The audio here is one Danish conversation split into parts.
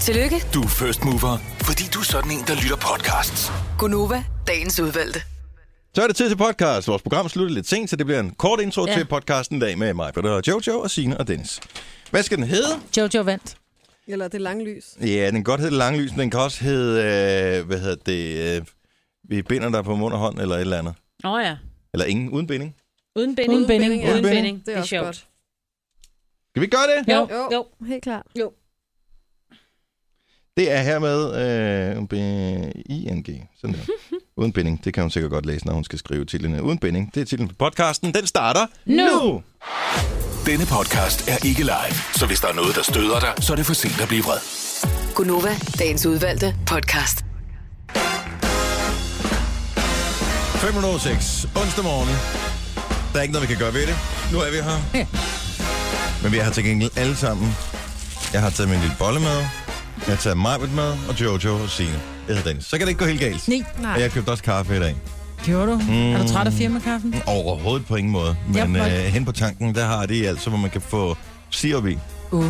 Tillykke, Du er first mover, fordi du er sådan en, der lytter podcasts. Gunova, dagens udvalgte. Så er det tid til podcast. Vores program slutter lidt sent, så det bliver en kort intro ja. Ja. til podcasten i dag med mig, Britta og Jojo og Signe og Dennis. Hvad skal den hedde? Jojo vandt. Eller det lange lys. Ja, den kan godt hedde Langlys, men den kan også hedde, øh, hvad hedder det, øh, vi binder dig på mund og hånd eller et eller andet. Åh oh, ja. Eller ingen uden binding. Uden binding. Uden binding, ja. Uden Uden binding. Det er, også godt. Skal vi gøre det? Jo, Jo. jo. jo. Helt klart. Det er hermed øh, B- ING. Sådan der. Uden binding. Det kan hun sikkert godt læse, når hun skal skrive titlen. Uden binding. Det er titlen på podcasten. Den starter nu. nu. Denne podcast er ikke live, så hvis der er noget, der støder dig, så er det for sent at blive vred. Gunova, dagens udvalgte podcast. 506. Onsdag morgen. Der er ikke noget, vi kan gøre ved det. Nu er vi her. Ja. Men vi har til gengæld alle sammen. Jeg har taget min lille bolle med. Jeg har taget Majbet med, og Jojo og Signe. Jeg hedder Dennis. Så kan det ikke gå helt galt. Nej, Og jeg købte også kaffe i dag. gjorde du? Mm. Er du træt af firmakaffen? Overhovedet på ingen måde. Jeg Men øh, folk- hen på tanken, der har de altså, hvor man kan få sirup i. Uh.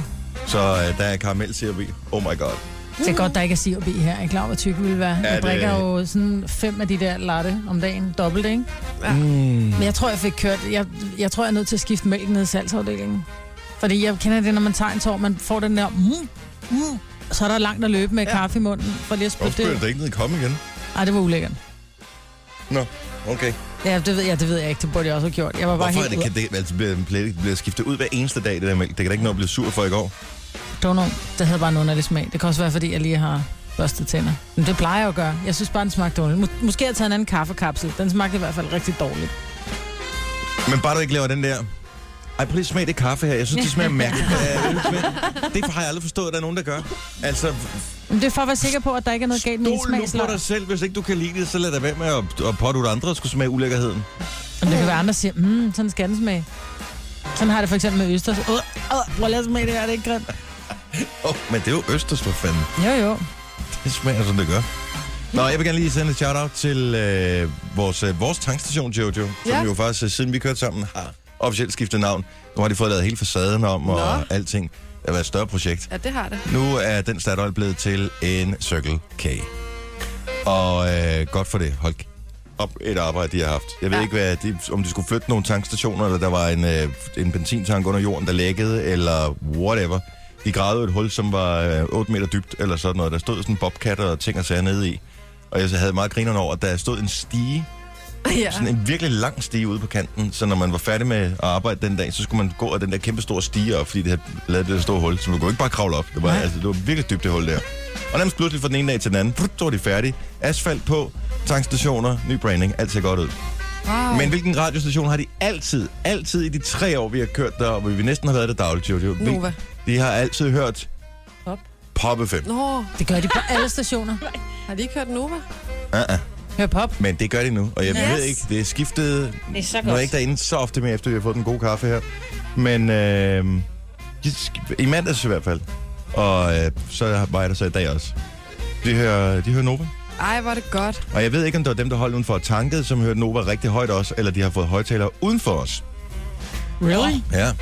Så øh, der er karamel sirup i. Oh my god. Det er godt, der ikke er sirup i her. Jeg er klar, over, hvor tyk vi vil være. Ja, jeg det- drikker jo sådan fem af de der latte om dagen. Dobbelt, ikke? Ja. Mm. Men jeg tror, jeg fik kørt... Jeg, jeg tror, jeg er nødt til at skifte mælken ned i salgsafdelingen. Fordi jeg kender det, når man tager en tår, man får den der... Mm, mm, og så er der langt at løbe med ja. kaffe i munden, for lige at Hvorfor spytte det. spiller ud. det ikke ned i kom igen? Ej, det var ulækkert. Nå, okay. Ja, det ved jeg, det ved jeg ikke. Det burde jeg også have gjort. Jeg var bare Hvorfor er helt det, kan det altså, bliver, bliver, bliver skiftet ud hver eneste dag, det der mælk? Det kan da ikke nå at blive sur for i går. Don't know. Det havde bare en underlig smag. Det kan også være, fordi jeg lige har børstet tænder. Men det plejer jeg at gøre. Jeg synes bare, den smagte dårligt. Mås- måske har jeg taget en anden kaffekapsel. Den smagte i hvert fald rigtig dårligt. Men bare du ikke laver den der... Ej, prøv lige at smage det kaffe her. Jeg synes, det smager mærkeligt. Øh, det smager- det har jeg aldrig forstået, at der er nogen, der gør. Altså, Men det er for at være sikker på, at der ikke er noget galt med min stol nu på dig smagslag. selv. Hvis ikke du kan lide det, så lad dig være med at, at pådutte andre at skulle smage ulækkerheden. Men det kan være, andre siger, mm, sådan skal den smage. Sådan har jeg det for eksempel med østers. Øh, øh, prøv lige at smage det her, det er ikke grimt. Åh, oh, men det er jo østers for fanden. Jo, jo. Det smager, som det gør. Nå, jeg vil gerne lige sende et shout-out til øh, vores, øh, vores tankstation, Jojo, som Ja. jo faktisk, øh, siden vi kørte sammen, har officielt skiftet navn. Nu har de fået lavet hele facaden om Nå. og alting. Det har været et større projekt. Ja, det har det. Nu er den Statoil blevet til en Circle K. Og øh, godt for det. Hold op et arbejde, de har haft. Jeg ved ja. ikke, hvad de, om de skulle flytte nogle tankstationer, eller der var en, øh, en benzintank under jorden, der lækkede, eller whatever. De gravede et hul, som var øh, 8 meter dybt, eller sådan noget. Der stod sådan en bobcat og ting og sager nede i. Og jeg så havde meget grinerne over, at der stod en stige, Ja. sådan en virkelig lang stige ude på kanten, så når man var færdig med at arbejde den dag, så skulle man gå af den der kæmpe store stige op, fordi det havde lavet det der store hul, så man kunne ikke bare kravle op. Det var, altså, det var virkelig dybt det hul der. Og nærmest pludselig fra den ene dag til den anden, prut, så var de færdige. Asfalt på, tankstationer, ny branding, alt ser godt ud. Wow. Men hvilken radiostation har de altid, altid i de tre år, vi har kørt der, og vi næsten har været der dagligt, Jojo? Vi- Nova. De har altid hørt Pop. Pop FM. Nå, Det gør de på alle stationer. har de ikke hørt Nova? Uh-uh. Hør pop. Men det gør de nu, og jeg yes. Yes. ved ikke, det er skiftet... Det er så Nu er jeg godt. ikke derinde så ofte mere, efter vi har fået den gode kaffe her. Men øh, de sk- i mandags i hvert fald. Og øh, så var jeg der så i dag også. De hører, de hører Nova. Ej, var det godt. Og jeg ved ikke, om det var dem, der holdt udenfor og tankede, som hørte Nova rigtig højt også, eller de har fået højtalere uden for os. Really? Ja.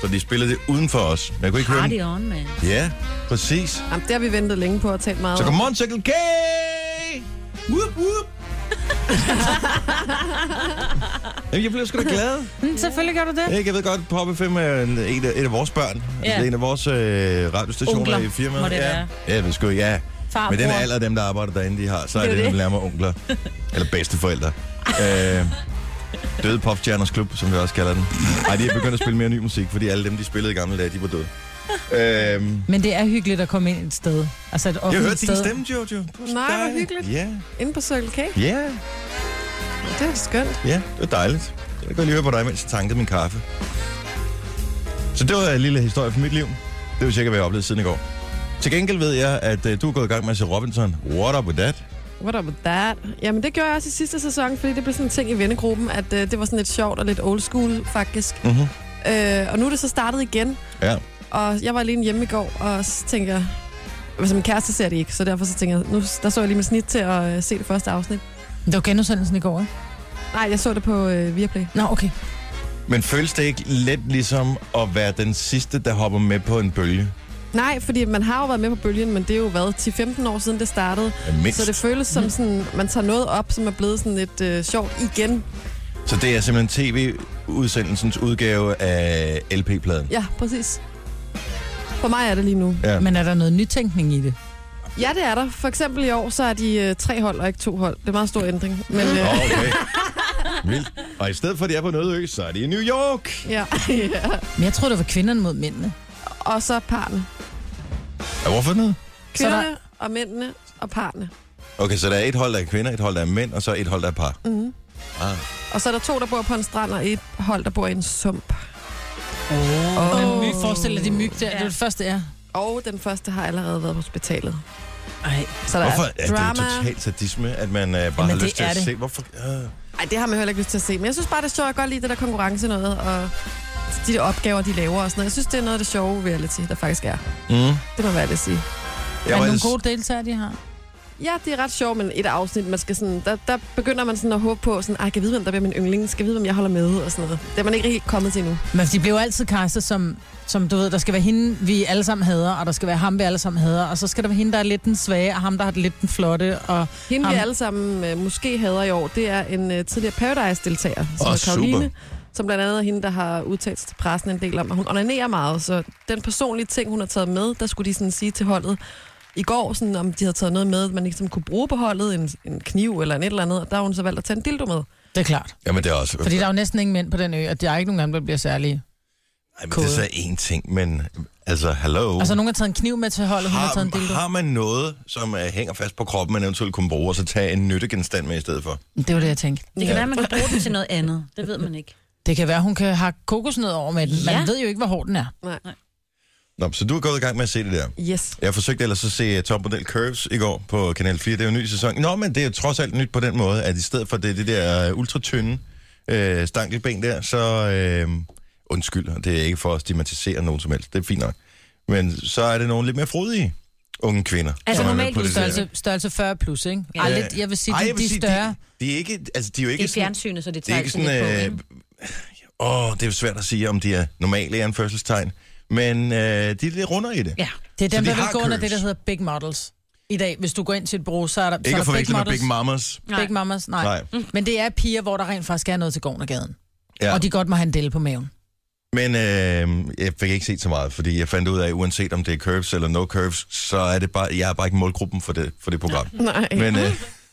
Så de spillede det uden for os. Men Jeg kunne ikke høre Party dem. on, man. Ja, præcis. Jamen, det har vi ventet længe på at tale meget Så om. kom on, Circle K! Whoop, whoop. Jamen, jeg blev sgu da glad. Mm, selvfølgelig gør du det. Ikke, jeg ved godt, Pop FM er en, en, af, en af vores børn. Ja. Altså, Ja. det er en af vores øh, radiostationer Onkler, i firmaet. må det ja. være. ja, jeg ved sgu, ja. Far, Men den bror. alder, dem, der arbejder derinde, de har, så er Det er det, det. det. nærmere onkler. Eller bedsteforældre. øh, Døde Popstjerners Klub, som vi også kalder den. Nej, de er begyndt at spille mere ny musik, fordi alle dem, de spillede i gamle dage, de var døde. Øhm, Men det er hyggeligt at komme ind et sted. Altså et jeg offentligt hørte din sted. stemme, Jojo. Det var så Nej, hvor dejligt. hyggeligt. Ja, Inde på Circle K. ja, Det er skønt. ja. Det var dejligt. Jeg kan godt lige høre på dig, mens jeg tankede min kaffe. Så det var en lille historie fra mit liv. Det var cirka, hvad jeg oplevede siden i går. Til gengæld ved jeg, at øh, du er gået i gang med at se Robinson. What up with that? What up with that? Jamen, det gjorde jeg også i sidste sæson, fordi det blev sådan en ting i vennegruppen, at øh, det var sådan lidt sjovt og lidt old school, faktisk. Mhm. Øh, og nu er det så startet igen, Ja. og jeg var alene hjemme i går, og så tænker jeg... Altså, min kæreste ser det ikke, så derfor så tænker jeg... Nu, der så jeg lige med snit til at øh, se det første afsnit. Det var genudsendelsen i går, ikke? Nej, jeg så det på øh, Viaplay. Nå, okay. Men føles det ikke lidt ligesom at være den sidste, der hopper med på en bølge? Nej, fordi man har jo været med på bølgen, men det er jo hvad, 10-15 år siden det startede. Ja, mindst. Mm. Så det føles som sådan, man tager noget op, som er blevet sådan lidt øh, sjovt igen. Så det er simpelthen tv-udsendelsens udgave af LP-pladen. Ja, præcis. For mig er det lige nu. Ja. Men er der noget nytænkning i det? Ja, det er der. For eksempel i år, så er de øh, tre hold og ikke to hold. Det er en meget stor ændring. Men, øh, Okay. Vildt. Og i stedet for, at de er på en øde ø, så er de i New York. ja, ja. Men jeg tror det var kvinderne mod mændene. Og så parne. Ja, hvorfor noget? Så der- Kvinderne der... og mændene og parne. Okay, så der er et hold, der er kvinder, et hold, der er mænd, og så et hold, der er par. Mhm. Mm. Ah. Og så er der to, der bor på en strand, og et hold, der bor i en sump. Oh. Åh. Men myg forestiller de myg der. Ja. Det er det første, er. Og den første har allerede været på hospitalet. Ej. Så der Hvorfor er er det drama. jo totalt sadisme, at man øh, bare Jamen, har det lyst til er at det. se? Hvorfor? Øh. Ej, det har man heller ikke lyst til at se. Men jeg synes bare, det er sjovt. Jeg kan godt lide det der konkurrence noget, og de der opgaver, de laver og sådan noget. Jeg synes, det er noget af det sjove reality, der faktisk er. Mm. Det må være det at sige. er Jeg det var nogle ellers, gode deltagere, de har? Ja, det er ret sjovt, men et afsnit, man skal sådan, der, der begynder man sådan at håbe på, sådan, Ej, kan jeg vide, hvem der bliver min yndling? Skal jeg vide, hvem jeg holder med? Og sådan noget. Det er man ikke helt kommet til endnu. Men de bliver jo altid kastet som, som du ved, der skal være hende, vi alle sammen hader, og der skal være ham, vi alle sammen hader, og så skal der være hende, der er lidt den svage, og ham, der har lidt den flotte, og Hende, vi Ham. alle sammen øh, måske hader i år, det er en øh, tidligere Paradise-deltager, som Åh, er Karoline. super. Som blandt andet er hende, der har udtalt sig til pressen en del om, at hun onanerer meget. Så den personlige ting, hun har taget med, der skulle de sådan sige til holdet i går, sådan, om de havde taget noget med, man ikke sådan kunne bruge på holdet, en, en kniv eller en et eller andet. Og der har hun så valgt at tage en dildo med. det er klart. jamen, det er også... Fordi der er jo næsten ingen mænd på den ø, og der er ikke nogen andre, der bliver særlige. Ej, men det er så én ting, men altså, hallo. Altså, nogen har taget en kniv med til holdet, hun har, taget en har, dildo. har man noget, som uh, hænger fast på kroppen, man eventuelt kunne bruge, og så tage en nyttegenstand med i stedet for? Det var det, jeg tænkte. Det kan være, man kan bruge den til noget andet. Det ved man ikke. Det kan være, hun kan hakke kokosnød over med den. Man Ja. ved jo ikke, hvor hård den er. Altså, Nå, så du er gået i gang med at se det der. Yes. Jeg forsøgte ellers at se uh, Top Model Curves i går på Kanal 4. Det er jo en ny sæson. Nå, men det er jo trods alt nyt på den måde, at i stedet for det, det der øh, ultratynde øh, stankelben der, så... Øh, undskyld, og det er ikke for at stigmatisere nogen som helst. Det er fint nok. Men så er det nogle lidt mere frodige unge kvinder. Altså, som er med normalt på det der. Størrelse, størrelse 40 plus, ikke? Ja. Ja. Ej, lidt, jeg vil sige, Ej, Ej, jeg vil de er sige, større. De, de er ikke, altså, de er jo ikke Det er sådan, fjernsynet, så det det er tager ikke altid lidt sådan... på. Øh, ikke? åh, det er jo svært at sige, om de er normale i anførselstegn. Men øh, de er lidt rundere i det. Ja. Det er så dem, de der vil har gå under curves. det, der hedder Big Models. I dag, hvis du går ind til et bureau, så er der, så Ikke er at der Big forveksle med Models. Big Mamas. Nej. Big Mamas, nej. nej. Nej. Men det er piger, hvor der rent faktisk er noget til gården og gaden. Ja. Ja. Og de godt må have en del på maven. Men øh, jeg fik ikke set så meget, fordi jeg fandt ud af, uanset om det er curves eller no curves, så er det bare, jeg er bare ikke målgruppen for det, for det program. Nej. Men øh,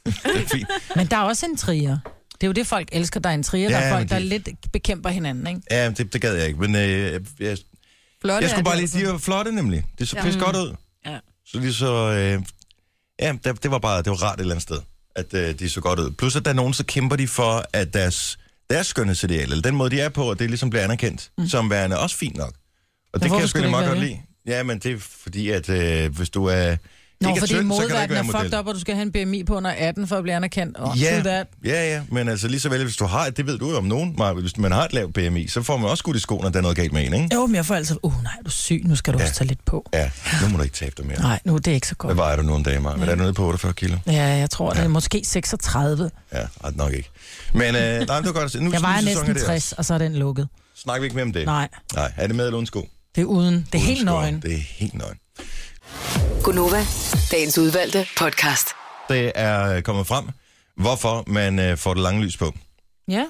det er fint. Men der er også en trier. Det er jo det, folk elsker. Der er en trier, ja, der Ja, er folk, men der de- lidt bekæmper hinanden, ikke? Ja, det, det gad jeg ikke. Men øh, jeg, Flotte jeg er skulle bare de lige, altså. de var flotte nemlig. Det så Ja. pisse godt ud. Ja. Så lige så, øh, ja, det, det var bare, det var rart et eller andet sted, at øh, de så godt ud. Plus at der er nogen, så kæmper de for, at deres, deres skønhedsideal, eller den måde, de er på, at det ligesom bliver anerkendt mm. som værende også fint nok. Og det hvorfor kan jeg sgu skulle det egentlig ikke meget være godt lide. Ja, men det er fordi, at øh, hvis du er... Nå, ikke er fordi tynd, så kan du ikke modverdenen være er fucked model. up, og du skal have en BMI på under 18 for at blive anerkendt. Og yeah. Ja, that. ja, ja, men altså lige så vel, hvis du har, det ved du jo om nogen, Maja, hvis man har et lavt BMI, så får man også skudt i skoene, at der er noget galt med en, ikke? Jo, men jeg får altid, uh nej, du er syg, nu skal du Ja. ja. også tage lidt på. Ja, nu må du ikke tabe dig mere. Nej, nu er det ikke så Hvad godt. vejer du nu en dag, Maja? Er du nede på 48 kilo? Ja, jeg tror, det er måske 36. Ja, ej, nok ikke. Men øh, nej, men det var godt at se. Nu, Jeg nu vejer sæsonen er næsten der. 60, og så er den lukket. Snakker vi ikke mere om det? Nej, Nej, er det med eller uden sko? Uden det er uden. Det er helt sko. nøgen. Det er helt nøgen. Gunova, dagens udvalgte podcast. Det er øh, kommet frem, hvorfor man øh, får det lange lys på. Ja.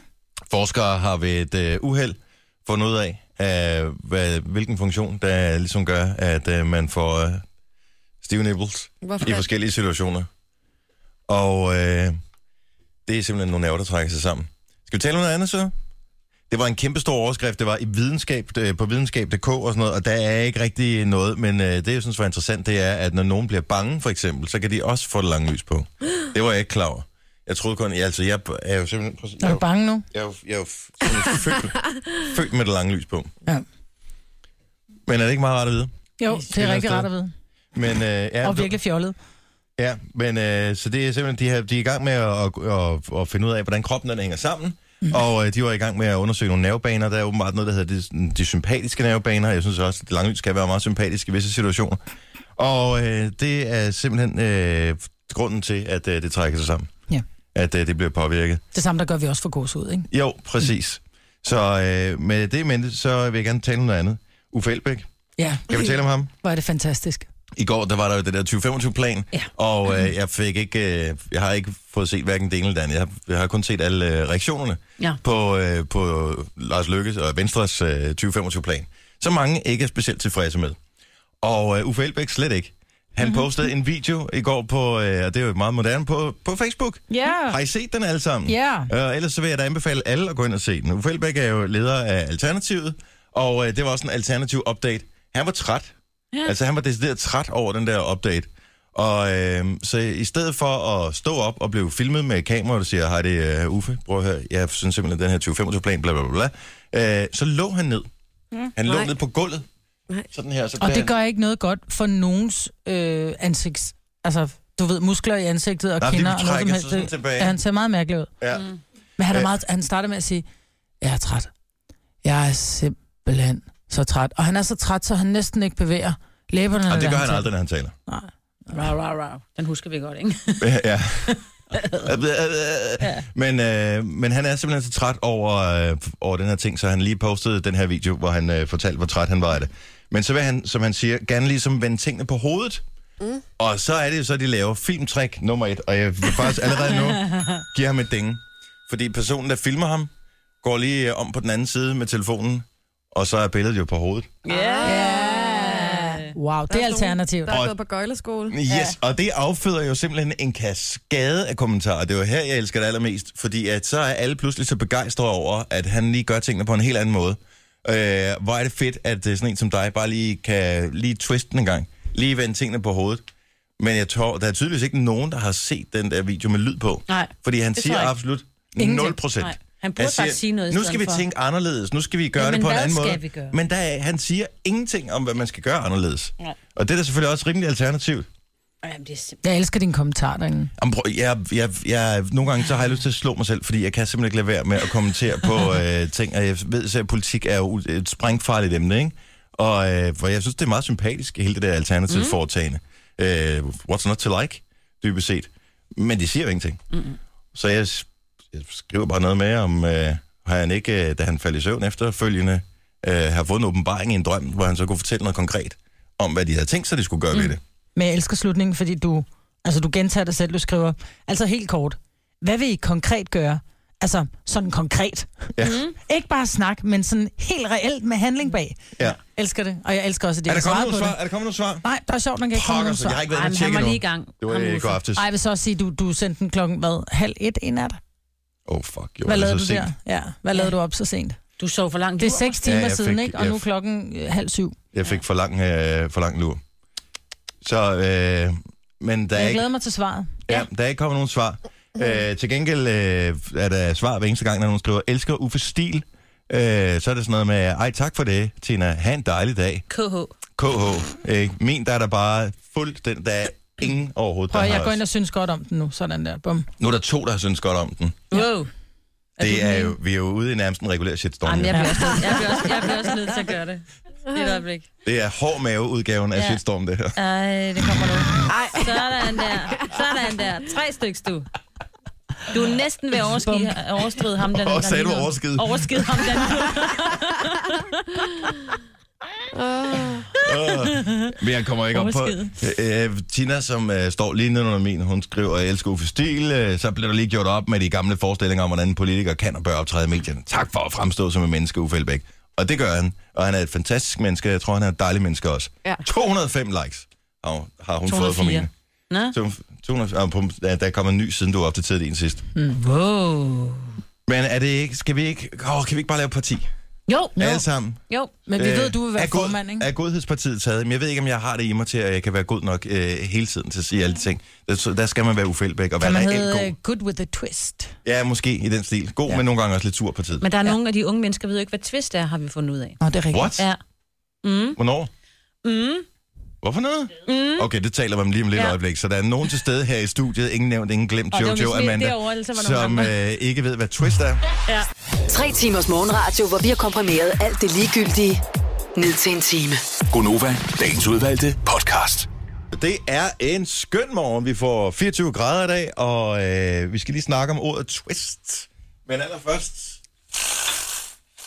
Forskere har ved et øh, uheld fundet ud af, øh, hvad, hvilken funktion, der ligesom gør, at øh, man får øh, stive nipples Hvorfor? i forskellige situationer. Og øh, det er simpelthen nogle nerver, der trækker sig sammen. Skal vi tale om noget andet så? Det var en kæmpe stor overskrift. Det var i videnskab, øh, på videnskab.dk og sådan noget, og der er ikke rigtig noget. Men øh, det, jeg synes var interessant, det er, at når nogen bliver bange, for eksempel, så kan de også få det lange lys på. Det var jeg ikke klar over. Jeg troede kun, ja, altså, jeg er jo simpelthen... prøv at se, Er jeg du bange nu? jeg er jo, jeg er jo f- sådan født, født med det lange lys på. Ja. Men er det ikke meget rart at vide? Jo, det eller er andet rigtig sted. rart at vide. Men, øh, ja, Og virkelig fjollet. Ja, men øh, så det er simpelthen, de, har, de er i gang med at, at, at, at finde ud af, hvordan kroppen den hænger sammen. Mm. Og øh, de var i gang med at undersøge nogle nervebaner. Der er åbenbart noget, der hedder de, sådan, de sympatiske nervebaner. Jeg synes også, at det lange lys kan være meget sympatisk i visse situationer. Og øh, det er simpelthen øh, grunden til, at øh, det trækker sig sammen. Ja. At øh, det bliver påvirket. Det samme, der gør vi også for gåsehud, ikke? Jo, præcis. Så øh, med det mente, så vil jeg gerne tale om noget andet. Uffe Elbæk, Ja, Kan vi tale om ham? hvor er det fantastisk. I går, der var der jo det der 2025-plan, Ja. og øh, jeg fik ikke, øh, jeg har ikke fået set hverken det ene eller det andet. Jeg har, jeg har kun set alle øh, reaktionerne Ja. på, øh, på Lars Lykkes og Venstres øh, 2025-plan, som mange ikke er specielt tilfredse med. Og øh, Uffe Elbæk slet ikke. Han mm-hmm. postede en video i går på, øh, og det er jo meget moderne, på, på Facebook. Ja. Har I set den alle sammen? Ja. Øh, ellers så vil jeg da anbefale alle at gå ind og se den. Uffe Elbæk er jo leder af Alternativet, og øh, det var også en alternativ update. Han var træt. Ja. Altså han var decideret træt over den der update. Og øh, så i stedet for at stå op og blive filmet med et kamera, der siger, hej det er øh, Uffe, prøv at høre, jeg synes simpelthen, den her 2025-plan, bla bla bla, bla, øh, så lå han ned. Mm. Han lå Nej. ned på gulvet. Nej. Sådan her. Så Og blev det han- gør ikke noget godt for nogens øh, ansigts... Altså, du ved, muskler i ansigtet og Nej, de kinder og noget som trækker helst. sig sådan Det- tilbage. Ja, han ser meget mærkelig ud. Ja. Men han, er Øh. meget, han starter med at sige, jeg er træt. Jeg er simpelthen så træt. Og han er så træt, så han næsten ikke bevæger læberne. Og når det gør er han aldrig, når han taler. Rau, rau, rau. Den husker vi godt, ikke? ja. men, øh, men han er simpelthen så træt over, øh, over den her ting, så han lige postede den her video, hvor han øh, fortalte, hvor træt han var af det. Men så vil han, som han siger, gerne ligesom vende tingene på hovedet. Mm. Og så er det jo så, de laver filmtræk nummer et, og jeg vil faktisk allerede nu give ham et dænge. Fordi personen, der filmer ham, går lige øh, om på den anden side med telefonen, og så er billedet jo på hovedet. træt. Wow, det er nogen, alternativt. Der er Og- gået på gøjleskole. Yes, ja. og det afføder jo simpelthen en kaskade af kommentarer. Det var her, jeg elsker det allermest, fordi at så er alle pludselig så begejstrede over, at han lige gør tingene på en helt anden måde. Øh, hvor er det fedt, at øh, sådan en som dig bare lige kan lige twiste den en gang. Lige vende tingene på hovedet. Men jeg tror, der er tydeligvis ikke nogen, der har set den der video med lyd på. Nej, Fordi han det siger tror jeg ikke. absolut Ingenting. 0 procent. Nej, han burde bare sige noget i Nu stedet skal vi for." tænke anderledes. Nu skal vi gøre Ja, det men på en hvad anden måde. skal vi gøre? Men der er, han siger ingenting om, hvad man skal gøre anderledes. Nej. Og det er da selvfølgelig også rimelig alternativt. Jamen, det er simpelthen... Jeg elsker din kommentar derinde. Jamen, prøv, jeg, jeg, jeg, nogle gange så har jeg lyst til at slå mig selv, fordi jeg kan simpelthen ikke lade være med at kommentere på øh, ting. Og jeg ved selv, at politik er jo et sprængfarligt emne, ikke? Og øh, for jeg synes, det er meget sympatisk, hele det der alternative mm. foretagende. Øh, what's not to like, dybest set. Men de siger jo ingenting. Mm-mm. Så jeg, s- jeg skriver bare noget med, om øh, har han ikke, øh, da han faldt i søvn efterfølgende, øh, har fået en åbenbaring i en drøm, hvor han så kunne fortælle noget konkret om, hvad de havde tænkt sig, de skulle gøre mm. ved det. Men jeg elsker slutningen, fordi du, altså, du gentager det selv, du skriver. Altså helt kort. Hvad vil I konkret gøre? Altså sådan konkret. Mm-hmm. Ja. Ikke bare snak, men sådan helt reelt med handling bag. Ja. Elsker det. Og jeg elsker også, at det Er der kommet svaret nogle på svar? det. Er der kommet nogle svar? Nej, der er sjovt, når jeg ikke kommer Pokker, nogen så jeg har svar. ikke været Ej, inde og tjekke men han var endnu. lige i gang. Det var Ham i går Uffe. aftes. Ej, jeg vil så også sige, du, du sendte den klokken, hvad, halv et i nat? Oh fuck, jo. Hvad det er lavede du så der? Ja, hvad lavede du op så sent? Du sov for langt. Det er Du- seks Ja, timer jeg siden, fik- ikke? Og nu jeg- er klokken øh, halv syv. Jeg fik for lang, øh, for lang lur. Så, øh, men der er, Jeg ikke, glæder mig Mhm. til svaret. ja, der er ikke kommet nogen svar. Øh, til gengæld øh, er der svar hver eneste gang, når nogen skriver, elsker Uffe Stil. Øh, så er det sådan noget med, ej tak for det, Tina. Ha' en dejlig dag. KH. KH. Øh, min, der er der bare fuldt den, der er ingen overhovedet. Prøv, der jeg har går ind os. og synes godt om den nu. Sådan der, bum. Nu er der to, der synes godt om den. Wow. Det er jo, vi er jo ude i nærmest en regulær shitstorm. Jamen, her. jeg bliver også, jeg bliver også, jeg bliver også nødt til at gøre det. Lige et øjeblik. Det er hård maveudgaven af Ja. shitstorm, det her. Ej, det kommer nu. Ej. Sådan der. Sådan der. Tre stykker, du. Du er næsten ved at overskide, overstride ham, der... Åh, der sagde du lige- overskide? Overskide ham, der... Øh, Men jeg kommer ikke op på... Øh, Tina, som øh, står lige nedenunder min, hun skriver, jeg elsker Uffe Stil. Øh, så blev der lige gjort op med de gamle forestillinger om, hvordan politikere kan og bør optræde i medierne. Tak for at fremstå som en menneske, Uffe Elbæk. Og det gør han. Og han er et fantastisk menneske. Jeg tror, han er et dejligt menneske også. Ja. 205 likes har, hun- har hun fået fra 204. mine. Nå? 200, ah, på, ja, der er kommet en ny, siden du opdaterede en sidst. Hmm. Wow. Men er det ikke, skal vi ikke, åh, kan vi ikke bare lave et parti? Jo, No. jo, Alle sammen. jo. Men vi Øh, ved, du vil være er god- formand, ikke? Er godhedspartiet taget? Men jeg ved ikke, om jeg har det i mig til, at jeg kan være god nok øh, hele tiden til at sige alle de ting. Der, så- der skal man være ufældbæk og Kan være man reelt hedde god. øh, Good with a Twist? Ja, måske i den stil. God, ja. Ja. men nogle gange også lidt sur på tid. Men der er nogle af de unge mennesker, der ved ikke, hvad twist er, har vi fundet ud af. Nå, det er rigtigt. What? Ja. Ja. Mm, Hvornår? mm, Hvorfor noget? Mm-hmm. mm. Okay, det taler vi om lige om lidt Ja. ja. øjeblik. Så der er nogen til stede her i studiet. Ingen nævnt, ingen glemt. Og det var Jojo vist lidt Amanda, derovre, ellers så var der nogle som øh, ikke ved, hvad twist er. Tre timers morgenradio, hvor vi har komprimeret alt det ligegyldige ned til en time. Gonova, dagens udvalgte podcast. Det er en skøn morgen. Vi får 24 grader i dag, og øh, vi skal lige snakke om ordet twist. Men allerførst...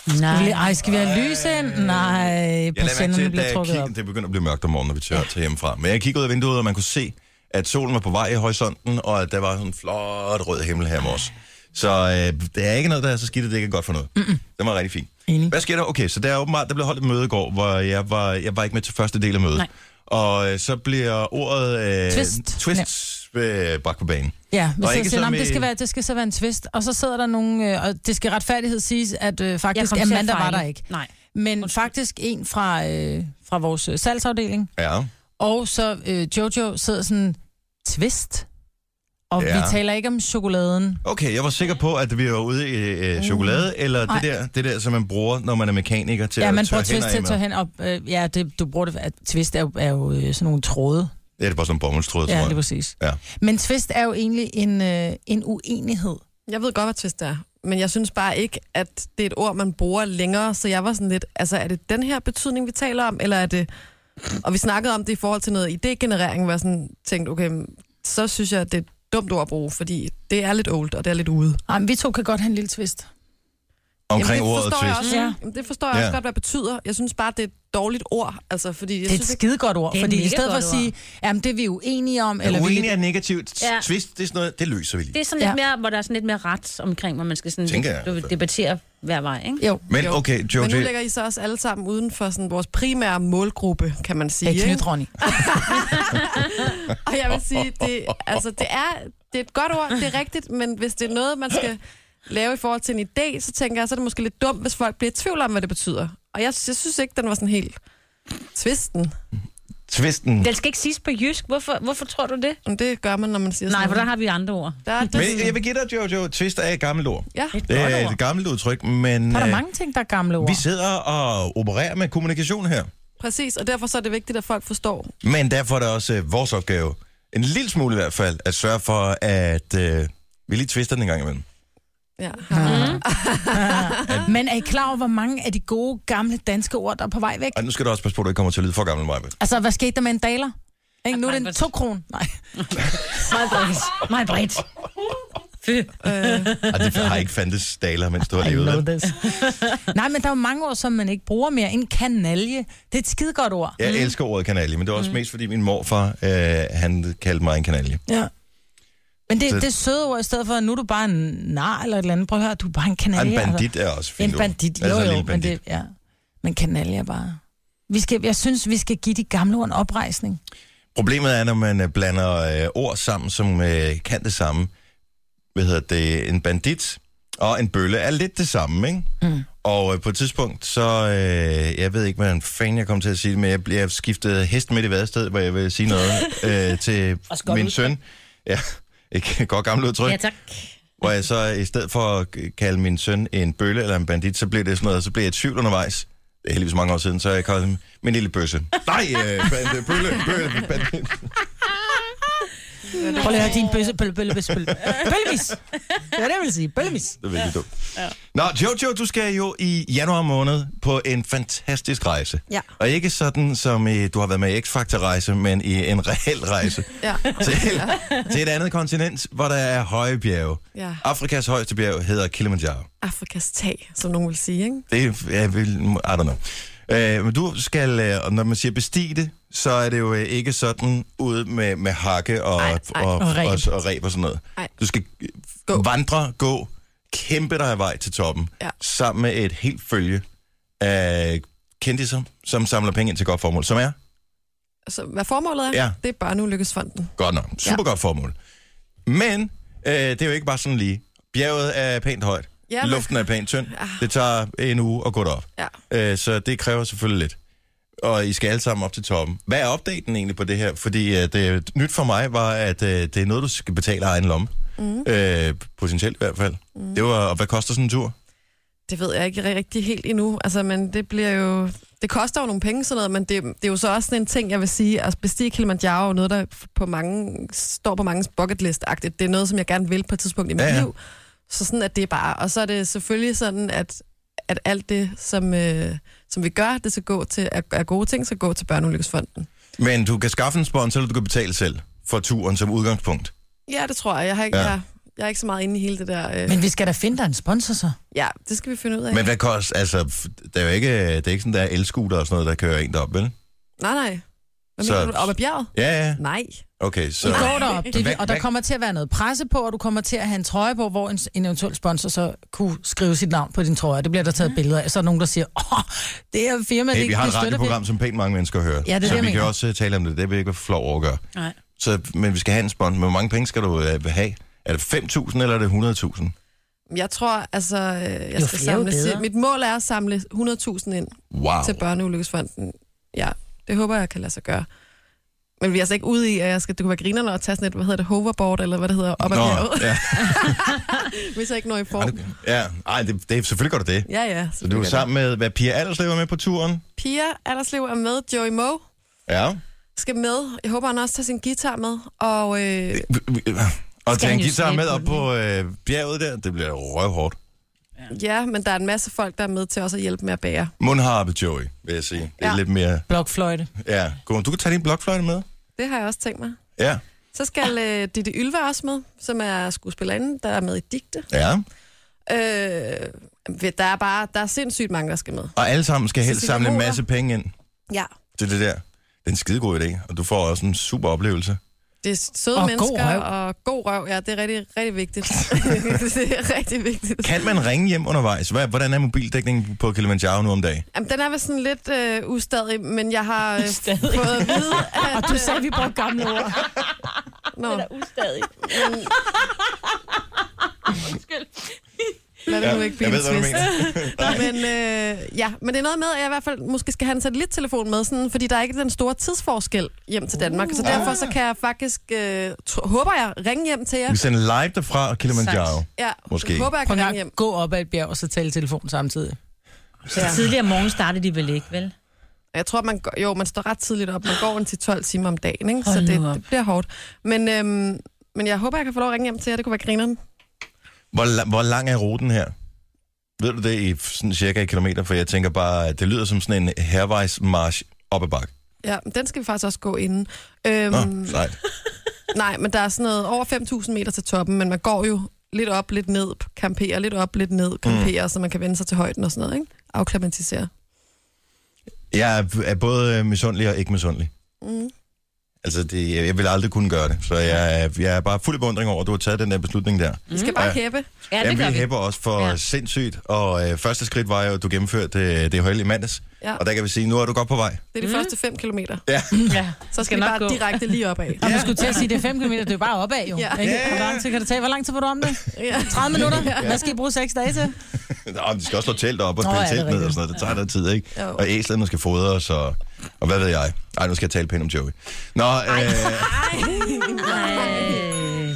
Skal vi, lige- ej, skal vi have lys Øh, ind? Nej, Jeg lader mærke persiennerne til, da bliver jeg trukket op. kiggede, det begynder at blive mørkt om morgenen, når vi tør til hjemmefra. Men jeg kiggede ud af vinduet, og man kunne se, at solen var på vej i horisonten, og at der var sådan en flot rød himmel her med os. Så øh, det er ikke noget, der er så skidt, at det ikke er godt for noget. Mm-mm. Det var rigtig fint. Enig. Hvad sker der? Okay, så der er åbenbart, der blev holdt et møde i går, hvor jeg var, jeg var ikke med til første del af mødet. Nej. Og øh, så bliver ordet øh, Twist. twist øh, bragt på banen. Ja, men Og så ikke siger, som "Nå, men i- det, skal være, det skal så være en twist. Og så sidder der nogen, øh, og det skal retfærdighed siges, at øh, faktisk kom til at Amanda var fejle. der ikke. Nej. Men faktisk en fra, øh, fra vores øh, salgsafdeling, Ja. og så øh, Jojo sidder sådan, twist. Og Ja. ja. vi taler ikke om chokoladen. Okay, jeg var sikker på, at vi var ude i øh, chokolade, eller det Mm. Nej. der, det der, som man bruger, når man er mekaniker til Ja, at man tørre bruger twist hænder til af at med. tage hen op. Øh, ja, det, du bruger det, at twist er jo, er jo øh, sådan nogle tråde. Ja, det er bare sådan en bomuldstråd, Ja, tror det er jeg. præcis. Ja. Men twist er jo egentlig en, øh, en uenighed. Jeg ved godt, hvad twist er, men jeg synes bare ikke, at det er et ord, man bruger længere, så jeg var sådan lidt, altså er det den her betydning, vi taler om, eller er det... Og vi snakkede om det i forhold til noget idégenerering, hvor jeg sådan tænkte, okay, så synes jeg, at det er et dumt ord at bruge, fordi det er lidt old, og det er lidt ude. Ej, men vi to kan godt have en lille twist. Omkring Jamen, det ordet forstår twist. Jeg også, Ja. Jamen, det forstår jeg Ja. også godt, hvad det betyder. Jeg synes bare, det er et dårligt ord. Altså, fordi jeg Det er et synes, skidegodt ord, Det er et fordi i mega stedet for at godt ord. sige, jamen det er vi uenige om, Eller eller vi uenig er negativt. Ja. Ja. Twist, det er sådan noget, det løser vi lige. Det er sådan lidt Ja. mere, hvor der er sådan lidt mere ret omkring, hvor man skal sådan Tænker jeg, du, altså. debattere hver vej, ikke? Jo. Men Jo. okay, Men nu Jojo, lægger I så også alle sammen uden for sådan, vores primære målgruppe, kan man sige. Ja, ikke? knytronning. Og jeg vil sige, det, altså, det, er, det er et godt ord, det er rigtigt, men hvis det er noget, man skal lave i forhold til en idé, så tænker jeg, så er det måske lidt dumt, hvis folk bliver i tvivl om, hvad det betyder. Og jeg, jeg synes ikke, den var sådan helt tvisten. twisten. Mm. Den skal ikke siges på jysk. Hvorfor, hvorfor tror du det? Men det gør man, når man siger Nej, sådan for der har vi andre ord. Der er det, Men jeg vil give dig, Jojo, twist er et gammelt ord. ja. Det Godt er ord. et gammelt udtryk, men Der er der øh, mange ting, der er gamle ord. vi sidder og opererer med kommunikation her. Præcis, og derfor så er det vigtigt, at folk forstår. Men derfor er det også øh, vores opgave, en lille smule i hvert fald, at sørge for, at øh, vi lige twister den en gang imellem. Ja. Mhm. Men er I klar over, hvor mange af de gode, gamle danske ord, der er på vej væk? Og nu skal du også passe på, at du ikke kommer til at lyde for gammel, Maja. Altså, hvad skete der med en daler? Ikke? Nu Nej, er det en hvad- to kron. Nej. Meget bredt. Meget bredt. Fy. Og det har ikke fandtes daler, mens du har Øh. I levet. know vel? this. Nej, men der er jo mange ord, som man ikke bruger mere. En kanalje. Det er et skidegodt ord. Jeg elsker ordet kanalje, men det er Mm. også mest, fordi min morfar, øh, han kaldte mig en kanalje. Ja. Men det, Så- det er søde ord, i stedet for, at nu er du bare en nar eller et eller andet. Prøv at høre, du er bare en Og kanalje. en altså. bandit er også fint. En ord. bandit, jo, Altså en jo, lille men bandit. det, ja. Men kanalje er bare... Vi skal, jeg synes, vi skal give de gamle ord en oprejsning. Problemet er, når man øh, blander øh, ord sammen, som øh, kan det samme. Hvad hedder det? En bandit og en bølle er lidt det samme, ikke? Mm. Og øh, på et tidspunkt, så... Øh, jeg ved ikke, hvordan fanden jeg kom til at sige det, men jeg, jeg skiftede hest midt i vadestedet, hvor jeg vil sige noget øh, til Og skot min ud. søn. Ja, ikke godt gammelt udtryk. Ja, tak. Hvor jeg så i stedet for at kalde min søn en bølle eller en bandit, så blev det sådan noget, så blev jeg i tvivl undervejs. Det er heldigvis mange år siden, så jeg kaldte ham min lille bøsse. Nej, øh, bande, bølle, bølle, bandit. Prøv lige at høre din bøsse, bølle, bølle, bølle, bølle. Bøllemis. Det var det, jeg ville sige. Bøllemis. Det er virkelig dumt. Ja. Nå, Jojo, du skal jo i januar måned på en fantastisk rejse. Ja. Og ikke sådan, som i, du har været med i X-Factor-rejse, men i en reel rejse. Ja. til, til et andet kontinent, hvor der er høje bjerge. Ja. Afrikas højeste bjerg hedder Kilimanjaro. Afrikas tag, som nogen vil sige, ikke? Det er vel, I don't know. Øh, men du skal, øh, og når man siger bestige det, så er det jo øh, ikke sådan ude med, med hakke og, Ej, ej, og, og og, reb. og, og reb og sådan noget. Ej. Du skal øh, Gå. vandre, gå, kæmpe dig af vej til toppen, Ja. sammen med et helt følge af kendtiser, som samler penge ind til godt formål, som er Så Altså, hvad formålet er, Ja. det er Børneulykkesfonden. godt nok. Super godt formål. Men øh, det er jo ikke bare sådan lige. Bjerget er pænt højt. Ja, Ja, men- Ah. Luften er pænt tynd. Det tager en uge at gå derop. Ja. Øh, så det kræver selvfølgelig lidt. Og I skal alle sammen op til toppen. Hvad er opdateringen egentlig på det her? Fordi øh, det nyt for mig var, at øh, det er noget, du skal betale af egen lomme. Mm. Øh, potentielt i hvert fald. Mm. Det var, og hvad koster sådan en tur? Det ved jeg ikke rigtig helt endnu, altså, men det bliver jo... Det koster jo nogle penge, sådan noget, men det, det er jo så også sådan en ting, jeg vil sige, at bestige Kilimanjaro er jo noget, der på mange, står på mange bucket list -agtigt. Det er noget, som jeg gerne vil på et tidspunkt i mit Ja, ja, ja. ja. liv. Så sådan, at det er bare... Og så er det selvfølgelig sådan, at, at alt det, som, øh, som vi gør, det skal gå til, er, er gode ting, skal gå til Børneulykkesfonden. Men du kan skaffe en sponsor, eller du kan betale selv for turen som udgangspunkt. Ja, det tror jeg. Jeg har ikke... Ja. Ja. Jeg, Jeg er ikke så meget inde i hele det der... Øh... Men vi skal da finde dig en sponsor så. Ja, det skal vi finde ud af. Men hvad koster, altså, f- der er jo ikke, det er ikke sådan, der er elskuter og sådan noget, der kører en derop, vel? Nej, nej. Hvad Så- mener du? Op ad bjerget? Ja, ja. Nej. Okay, så... Du går derop, det, er Hvad- det, og der hvad- kommer til at være noget presse på, og du kommer til at have en trøje på, hvor en, en eventuel sponsor så kunne skrive sit navn på din trøje. Det bliver der taget billeder af. Så er der nogen, der siger, åh, det er firma, Hey, det, vi har det et støtter radioprogram, som pænt mange mennesker hører. Ja, det er så det, jeg vi kan mener. også øh, tale om det. Det vil jeg ikke være flov over at gøre. Nej. Så, men vi skal have en sponsor. Men Hvor mange penge skal du øh, have? Er det 5.000 eller er det 100.000? Jeg tror, altså, øh, jeg Jo skal flere, jo samle... bedre. Mit mål er at samle 100.000 ind Wow. til Børneulykkesfonden. Ja, det håber jeg kan lade sig gøre. Men vi er altså ikke ude i, at jeg skal, det kunne være grinerne og tage sådan et, hvad hedder det, hoverboard, eller hvad det hedder, op ad bjerget, ja. hvis jeg ikke når i Ej, form. du- ja. Ej, det, det, selvfølgelig gør du det. Ja, ja. Så du er sammen med, hvad Pia Alderslev var med på turen? Pia Alderslev er med, Joey Moe Ja. skal med. Jeg håber, han også tager sin guitar med. Og øh, Og Skal tage en han jo guitar skabe med op den, på øh, bjerget der, det bliver røvhårdt. ja, men der er en masse folk, der er med til også at hjælpe med at bære. Mundharpe Joey, vil jeg sige. Det er Ja. lidt mere... Blokfløjte. Ja, god. Du kan tage din blokfløjte med. Det har jeg også tænkt mig. Ja. Så skal øh, Ditte Ylva også med, som er skuespillerinde, der er med i digte. Ja. Øh, ved- der er bare der er sindssygt mange, der skal med. Og alle sammen skal helst Cecilie samle en Mohr. masse penge ind. Ja. Det er det der. Det er en skidegod idé, og du får også en super oplevelse. Det er søde Og god mennesker røv. og god røv. Ja, det er rigtig, rigtig vigtigt. det er rigtig vigtigt. Kan man ringe hjem undervejs? Hvad- Hvordan er mobildækningen på Kilimanjaro nu om dagen? Jamen, den er vel sådan lidt øh, ustadig, men jeg har øh, fået at vide, at... øh, Og du sagde, vi brugte gamle ord. Nå, Ustadig. Undskyld. lad det nu ikke blive jeg ved, en hvad du twist. mener. Men, øh, ja, men det er noget med, at jeg i hvert fald måske skal have en satellittelefon med, sådan, fordi der er ikke den store tidsforskel hjem til Danmark. Uh, så Ah. derfor så kan jeg faktisk, øh, tro, håber jeg, ringe hjem til jer. Vi sender live derfra og Kilimanjaro. Sejt. Ja, Måske. håber jeg Prøv kan en ringe hjem. gang, gå op ad et bjerg og så tale i telefon samtidig. Ja. Tidligere om morgenen startede de vel ikke, vel? Jeg tror, man går, jo, man står ret tidligt op. Man går en til 12 timer om dagen, ikke? så Hold nu det, op. det, bliver hårdt. Men, øhm, men jeg håber, jeg kan få lov at ringe hjem til jer. Det kunne være grineren. Hvor, la- hvor lang er ruten her? Ved du det i sådan cirka i kilometer? For jeg tænker bare, at det lyder som sådan en hervejsmarsch op ad bakke. Ja, men den skal vi faktisk også gå inden. Øhm, Nå, sejt. nej, men der er sådan noget over 5.000 meter til toppen, men man går jo lidt op, lidt ned, kamperer lidt op, lidt ned, kamperer, mm. så man kan vende sig til højden og sådan noget, ikke? Afklimatisere. Jeg er- er både øh, misundelig og ikke misundelig. Mm. Altså, det, jeg vil aldrig kunne gøre det. Så jeg, er- jeg er bare fuld af beundring over, at du har taget den der beslutning der. Vi skal bare Mm. Ja. hæppe. Ja, det Jamen, gør vi vi. hæpper også for ja. Ja. sindssygt, og øh, første skridt var jo, at du gennemførte øh, det hold i mandags. Ja. Og der kan vi sige, nu er du godt på vej. Det er de mm. første 5 kilometer. Ja. Ja. Så skal vi nok bare gå. direkte lige opad. Og man skulle til at sige, det er 5 km, det er jo bare opad jo. Ja. Ja. Ikke? Hvor lang tid kan det tage? Hvor lang tid var du om det? Ja. 30 minutter? Hvad skal I bruge 6 dage til? Nå, men de skal også slå telt op og Nå, pille ja, det er telt ned og rigtigt. sådan noget. Det tager da tid, ikke? Jo. Og æslerne skal fodres og, og hvad ved jeg. Ej, nu skal jeg tale pænt om Joey. Nå, øh, Ej.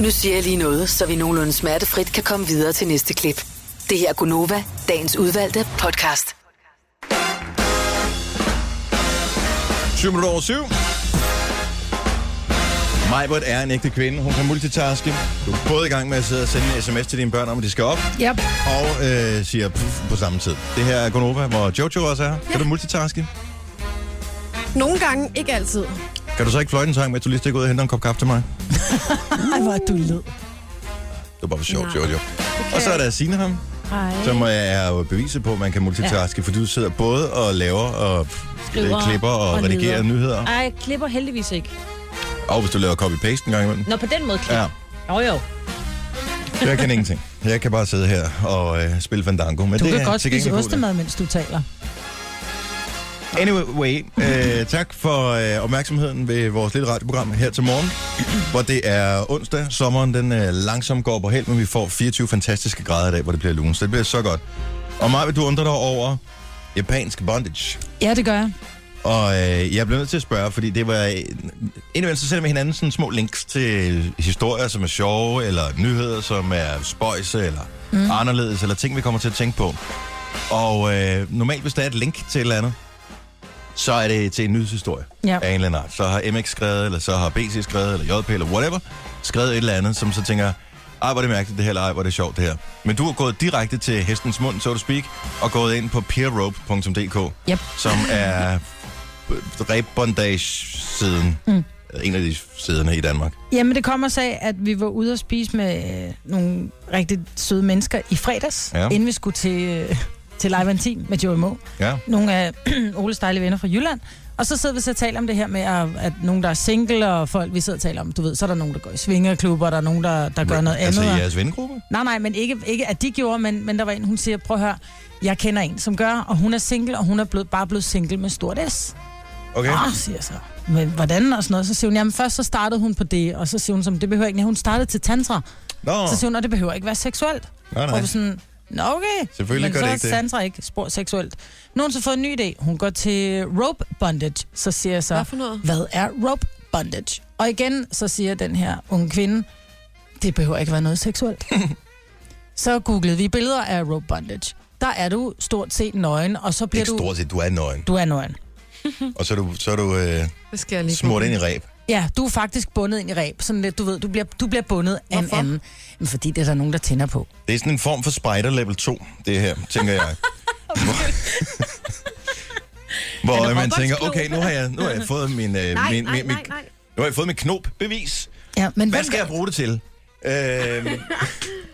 Nu siger jeg lige noget, så vi nogenlunde smertefrit kan komme videre til næste klip. Det her er Gunova, dagens udvalgte podcast. 7 minutter over 7. Majbert er en ægte kvinde. Hun kan multitaske. Du er både i gang med at sidde og sende en sms til dine børn om, at de skal op, Yep. og øh, siger puff på samme tid. Det her er Gonova, hvor Jojo også er. Kan du multitaske? Nogle gange, ikke altid. Kan du så ikke fløjte en sang med, at du lige stikker ud og henter en kop kaffe til mig? Ej, hvor er du led. Det var bare for sjovt, Jojo. Og så er der Signe ham, som øh, er jo beviset på, at man kan multitaske, for du sidder både og laver og Skriver, Skriver klipper og, og og redigerer nyder. nyheder. Ej, klipper heldigvis ikke. Og hvis du laver copy-paste en gang imellem. Nå, på den måde klipper. Ja, Jo, jo. jeg kan ingenting. Jeg kan bare sidde her og øh, spille Fandango. Men Du det kan er godt til spise gengæld god det. ostemad, mens du taler. Anyway, øh, tak for øh, opmærksomheden ved vores lille radioprogram her til morgen, hvor det er onsdag. Sommeren den øh, langsomt går på held, men vi får 24 fantastiske grader i dag, hvor det bliver lunt. Så det bliver så godt. Og mig vil du undre dig over japansk bondage. Ja, det gør jeg. Og øh, jeg blev nødt til at spørge, fordi det var... Øh, indimellem så sender vi hinanden sådan små links til historier, som er sjove, eller nyheder, som er spøjse, eller mm. anderledes, eller ting, vi kommer til at tænke på. Og øh, normalt, hvis der er et link til et eller andet, så er det til en nyhedshistorie Ja. af en eller anden art. Så har MX skrevet, eller så har BC skrevet, eller JP, eller whatever, skrevet et eller andet, som så tænker, ej, hvor er det mærkeligt det her, eller ej, hvor er det sjovt det her. Men du har gået direkte til hestens mund, så to speak, og gået ind på peerrope.dk, Yep. som er rebondage-siden, mm. en af de sæderne i Danmark. Jamen, det kommer sig af, at vi var ude og spise med øh, nogle rigtig søde mennesker i fredags, Ja. ja. inden vi skulle til, øh, til Live Antin med Joey Moe. Ja. Nogle af Oles dejlige venner fra Jylland. Og så sidder vi så og taler om det her med, at, at nogen, der er single, og folk, vi sidder og taler om, du ved, så er der nogen, der går i svingerklubber, der er nogen, der, der gør noget altså, andet. og- i jeres vengruppe? Nej, nej, men ikke, ikke at de gjorde, men, men der var en, hun siger, prøv at høre, jeg kender en, som gør, og hun er single, og hun er blevet, bare blevet single med stort S. Okay. Åh, siger jeg så. Men hvordan og sådan noget? Så siger hun, jamen først så startede hun på det, og så siger hun, som det behøver ikke, nej, hun startede til tantra. Nå, Så siger hun, og det behøver ikke være seksuelt. nej, Og nej. vi sådan, nå okay. Selvfølgelig men gør så det er ikke det. tantra ikke spor seksuelt. Nu har hun så fået en ny idé. Hun går til rope bondage. Så siger jeg så, Hvad for noget? hvad er rope bondage? Og igen, så siger den her unge kvinde, det behøver ikke være noget seksuelt. så googlede vi billeder af rope bondage. Der er du stort set nøgen, og så bliver Ikke du... stort set, du er nøgen. Du er nøgen. Og så er du, så er du øh, Det skal jeg lige smurt google. ind i ræb. Ja, du er faktisk bundet ind i ræb. Sådan lidt, du ved, du bliver, du bliver bundet af en Hvorfor? anden. Men fordi det er der nogen, der tænder på. Det er sådan en form for spider level 2, det her, tænker jeg. Hvor, hvor En man tænker, robotklub. okay, nu har jeg, nu har jeg fået min, øh, Nej, min, nej, min, min, nej, nej. nu har jeg fået min knop-bevis. Ja, men, Hvad hvem, skal jeg bruge det til? Øhm, men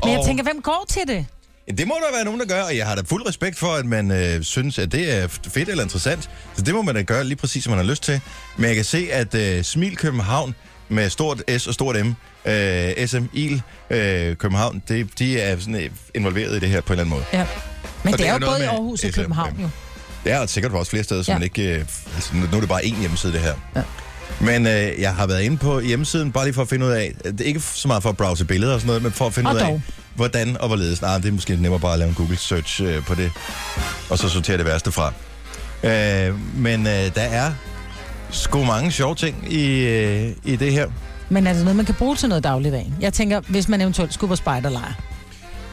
jeg og- tænker, hvem går til det? Ja, Det må der være nogen, der gør, og jeg har da fuld respekt for, at man øh, synes, at det er f- fedt eller interessant. Så det må man da gøre lige præcis, som man har lyst til. Men jeg kan se, at øh, Smil København med stort S og stort M, øh, SMIL øh, København, det, de er sådan, øh, involveret i det her på en eller anden måde. Ja. Men Og det det er er jo noget både i med Aarhus og FM. København jo. Det er sikkert også flere steder, som Ja. man ikke... Øh, f- altså, nu nu er det bare én hjemmeside, det her. Ja. Men øh, jeg har været inde på hjemmesiden, bare lige for at finde ud af, øh, det er ikke så meget for at browse billeder og sådan noget, men for at finde Og ud af, dog. hvordan og hvorledes. Nej, det er måske nemmere bare at lave en Google search øh, på det, og så sortere det værste fra. Øh, men øh, der er sgu mange sjove ting i, øh, i det her. Men er det noget, man kan bruge til noget i dagligdagen? Jeg tænker, hvis man eventuelt skulle på spejderlejr.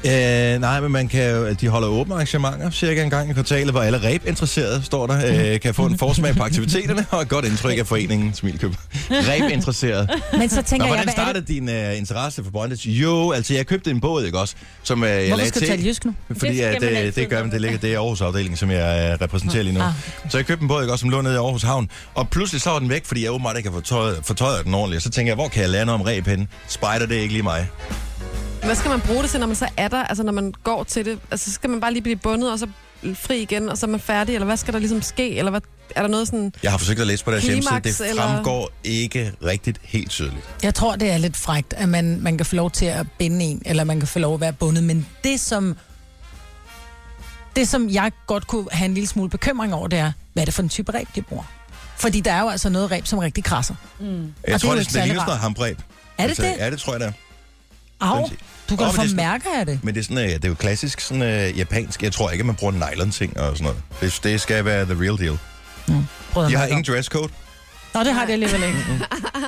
Øh, nej, men man kan, jo- de holder åbne arrangementer cirka en gang i kvartalet, hvor alle ræbinteresserede, står der, øh, kan få en forsmag på aktiviteterne og et godt indtryk af foreningen Smilkøb. Ræbinteresserede. Men så tænker Nå, jeg, hvordan hvad er det? startede din øh, interesse for bondage? Jo, altså jeg købte en båd, ikke også? Som øh, jeg Hvorfor lagde skal du tale jysk nu? Fordi Det skal at, øh, man det, altid det gør gøre. man, det ligger det er Aarhus afdelingen, som jeg øh, repræsenterer lige nu. Ah, Ah, okay. Så jeg købte en båd, ikke også, som lå nede i Aarhus Havn. Og pludselig så var den væk, fordi jeg åbenbart ikke har fortøjet, fortøjet den ordentligt. Så tænker jeg, hvor kan jeg lære noget om ræb henne? Spider, det er ikke lige mig. Hvad skal man bruge det til, når man så er der? Altså, når man går til det, altså, så skal man bare lige blive bundet, og så fri igen, og så er man færdig, eller hvad skal der ligesom ske? Eller hvad, er der noget sådan... Jeg har forsøgt at læse på deres Klimaks, hjemmeside. Det eller- fremgår ikke rigtigt helt tydeligt. Jeg tror, det er lidt frægt, at man, man kan få lov til at binde en, eller man kan få lov at være bundet. Men det, som, det, som jeg godt kunne have en lille smule bekymring over, det er, hvad er det for en type ræb, de bruger? Fordi der er jo altså noget ræb, som rigtig krasser. Jeg Og tror, det er jo det, ikke det, det særlig ligner sådan noget rart. hamræb. Er det det? Ja, det tror jeg da. Au, du kan Åh, men det oh, er få sådan- mærker af det. Men det er, sådan, øh, det er jo klassisk sådan, øh, japansk. Jeg tror ikke, at man bruger nylon-ting og sådan noget. Det, det skal være the real deal. Mm. Prøv at Jeg har mærke ingen op. dresscode. Nå, det har det alligevel ikke.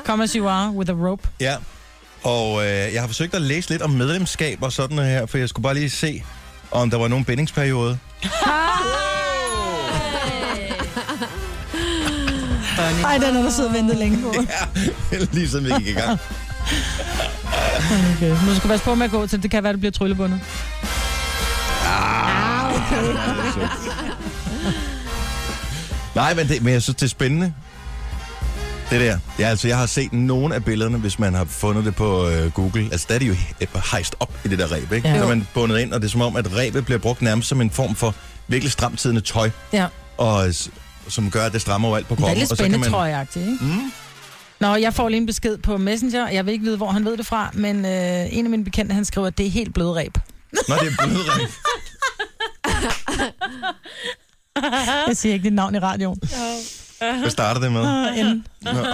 Come as you are with a rope. Ja. Og øh, jeg har forsøgt at læse lidt om medlemskab og sådan noget her, for jeg skulle bare lige se, om der var nogen bindingsperiode. Ej, den har du siddet og ventet længe på. lige siden vi gik i gang. Okay. Nu skal du passe på med at gå til, det kan være, det bliver tryllebundet. Ah. Nej, men, det, men jeg synes, det er spændende. Det der. Ja, altså, jeg har set nogle af billederne, hvis man har fundet det på øh, Google. Altså, der er de jo he- hejst op i det der ræb, ikke? Ja. Ja. Så er Jo. man bundet ind, og det er som om, at ræbet bliver brugt nærmest som en form for virkelig stramtidende tøj, Ja, og, s- som gør, at det strammer jo alt på det kroppen. er lidt og så kan spændende, man... tror jeg, ikke? Mm. Nå, jeg får lige en besked på Messenger. Jeg vil ikke vide, hvor han ved det fra, men øh, en af mine bekendte, han skriver, at det er helt blødræb. Nå, det er blødræb. Jeg siger ikke dit navn i radioen. Hvad starter det med? Og en- Nå, okay.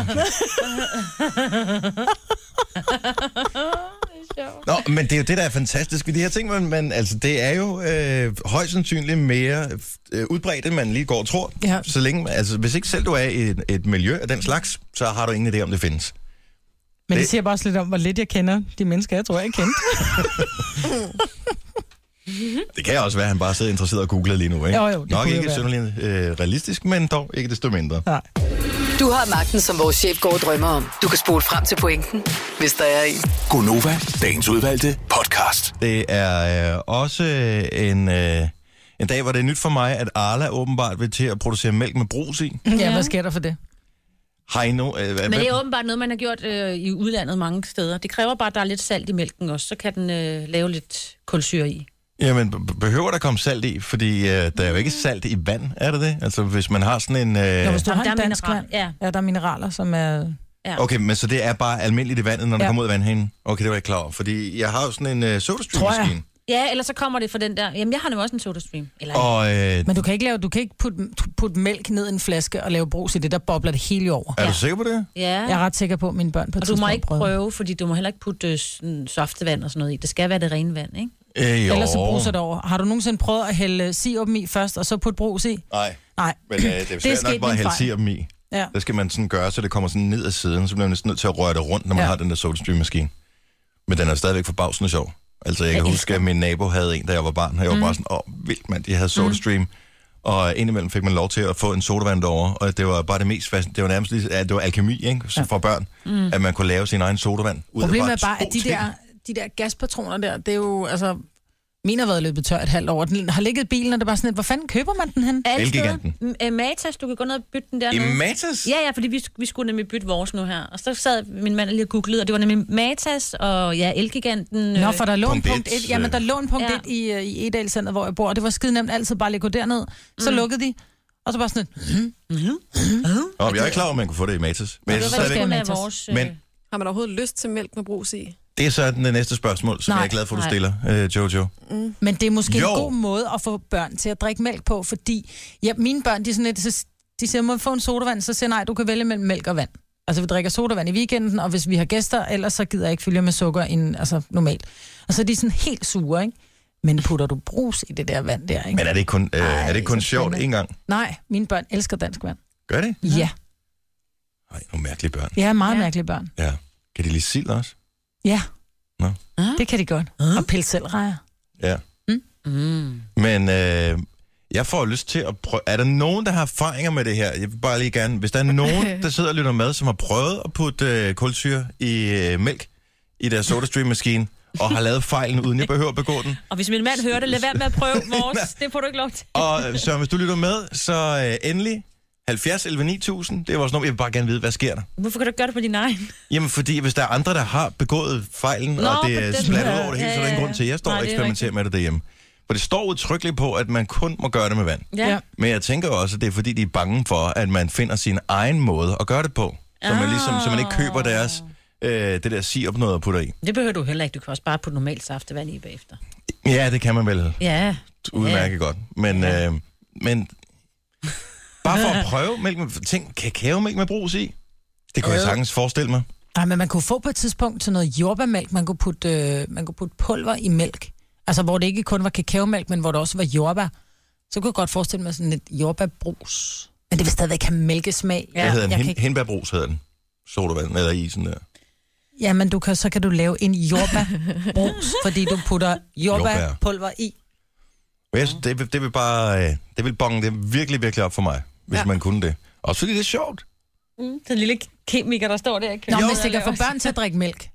Nå, men det er jo det, der er fantastisk ved de her ting, men, men altså, det er jo øh, højst sandsynligt mere øh, udbredt, end man lige går og tror. Ja. Så længe, altså, hvis ikke selv du er i et, et miljø af den slags, så har du ingen idé om, det findes. Men det Det- siger bare også lidt om, hvor lidt jeg kender de mennesker, jeg tror, jeg kendte. Det kan også være, at han bare sidder interesseret og googler lige nu, ikke? Jo, jo, det Nok kunne ikke jo synderligt øh, realistisk, men dog ikke desto mindre. Nej. Du har magten, som vores chef går og drømmer om. Du kan spole frem til pointen, hvis der er en. Gonova, dagens udvalgte podcast. Det er øh, også øh, en, øh, en dag, hvor det er nyt for mig, at Arla åbenbart vil til at producere mælk med brus i. Ja, hvad sker der for det? Heino, øh, hvad, Men det hvad, er åbenbart noget, man har gjort øh, i udlandet mange steder. Det kræver bare, at der er lidt salt i mælken også. Så kan den øh, lave lidt kulsyre i. Jamen, be- behøver der komme salt i? Fordi øh, der er jo ikke salt i vand, er der det? Altså, hvis man har sådan en... Nå, Øh... hvis du Jamen, har en der er dansk mineral- land, ja. ja, der er mineraler, som er... Ja. Okay, men så det er bare almindeligt i vandet, når ja. det Ja. kommer ud af vandhanen? Okay, det var jeg klar over, fordi jeg har jo sådan en øh, sodastream-maskine. Ja, eller så kommer det fra den der... Jamen, jeg har nu også en sodastream. Eller oh. Og øh, Men du kan ikke, lave, du kan ikke putte, putte mælk ned i en flaske og lave brus i det, der bobler det hele over. er du Ja. sikker på det? Ja, Jeg er ret sikker på, at mine børn på et og du må tidspunkt ikke prøvede. prøve, fordi du må heller ikke putte øh, sådan saftevand og sådan noget i. Det skal være det rene vand, ikke? Øh, jo. Ellers så bruser det over. Har du nogensinde prøvet at hælde sirupen i først, og så putte brus i? Nej, Nej. men øh, det er svært nok sket bare min at hælde fejl. sirup i. Ja. Der skal man sådan gøre, så det kommer sådan ned ad siden, så bliver man næsten nødt til at røre det rundt, når man ja. Ja. har den der sodastream-maskine. Men den er stadigvæk forbavsende sjov. Altså, jeg kan jeg huske, at min nabo havde en, da jeg var barn, og jeg var mm. bare sådan, åh, vildt mand, de havde sodastream. Mm. Og indimellem fik man lov til at få en sodavand derovre, og det var bare det mest fascinerende. Det var nærmest lige, at det var alkemi, ikke? Så for børn, mm. at man kunne lave sin egen sodavand. Ud Problemet af er bare, to at de ting. der, de der gaspatroner der, det er jo, altså... Min har været løbet tør et halvt år. Den har ligget i bilen, og det er bare sådan et, hvor fanden køber man den hen? Alle Elgiganten. steder. M- øh, Matas, du kan gå ned og bytte den der. I Matas? Ja, ja, fordi vi, vi skulle nemlig bytte vores nu her. Og så sad min mand lige og googlede, og det var nemlig Matas og ja, Elgiganten. Nå, øh, for der lå en Punkt punkt et, 1. Jamen, der lå en punkt Ja. 1 i, øh, i Edal Center, hvor jeg bor, og det var skide nemt altid bare lige gå derned. Mm. Så lukkede de, og så bare sådan et, "Hm, Og jeg er ikke klar over, at man kunne få det i Matas. Men, jeg det synes var, det stadigvæk, skulle være Matas. vores... øh, men Har man overhovedet lyst til mælk med brus i? det er så den næste spørgsmål, som øh- Nej, jeg er glad for, du nej. stiller, øh, Jojo. Men det er måske Jo. jo. en god måde at få børn til at drikke mælk på, fordi ja, mine børn, de, er sådan lidt, så- de siger, må jeg få en sodavand? Så siger jeg, nej, du kan vælge mellem mælk og vand. Altså, vi drikker sodavand i weekenden, og hvis vi har gæster, ellers så gider jeg ikke fylde jer med sukker end, altså, normalt. Og så er de sådan helt sure, ikke? Men putter du brus i det der vand der, ikke? Men er det ikke kun, øh, er det ikke kun så sjovt spændende. en gang? Nej, mine børn elsker dansk vand. Gør det? Ja, Nej, nogle mærkelige børn. jeg er meget Ja. ja. mærkelige børn. Ja. Kan de lide sild også? Ja, Nå. det kan de godt. Og pille selv rejer. Ja. Mm. Men øh, jeg får lyst til at prøve... Er der nogen, der har erfaringer med det her? Jeg vil bare lige gerne... Hvis der er nogen, der sidder og lytter med, som har prøvet at putte øh, kulsyre i øh, mælk i deres sodastream-maskine, og har lavet fejlen, uden jeg behøver at begå den. Og hvis min mand hører det, lad være med at prøve vores. det får du ikke lov til. Og øh, så hvis du lytter med, så øh, endelig 70 11 9000. Det er vores nummer. Jeg vil bare gerne vide, hvad sker der? Hvorfor kan du ikke gøre det på din egen? Jamen, fordi hvis der er andre, der har begået fejlen, Nå, Nå, og på det er den splat ud måde. over det hele, så er der Ja, ja, ingen ja. grund til, at jeg står Nej, og det er eksperimenterer med det derhjemme. For det står udtrykkeligt på, at man kun må gøre det med vand. Ja. ja. Men jeg tænker også, at det er fordi, de er bange for, at man finder sin egen måde at gøre det på. Så man, ligesom, så man ikke køber deres, øh, det der sirup noget at putte i. Det behøver du heller ikke. Du kan også bare putte normalt saftevand i bagefter. Ja, det kan man vel Ja. udmærket godt. Men, øh, men bare for at prøve mælk med, tænk, kakaomælk med brus i. Det Øh. kunne jeg sagtens forestille mig. Nej, men man kunne få på et tidspunkt til noget jordbærmælk. Man kunne putte, øh, man kunne putte pulver i mælk. Altså, hvor det ikke kun var kakaomælk, men hvor der også var jordbær. Så kunne jeg godt forestille mig sådan et jordbærbrus. Men det vil stadigvæk have mælkesmag. Ja, det hedder en jeg kan hen, ikke- henbærbrus, hedder den. Sodavand eller isen der. Ja, men du kan, så kan du lave en jordbærbrus, fordi du putter jordbærpulver i. Men jeg, synes, det, vil- det vil bare, øh, det vil bonge det virkelig, virkelig op for mig, hvis ja. Ja. man kunne det. Også fordi det er sjovt. Den lille kemiker, der står der. Nå, hvis det kan få børn til at drikke mælk.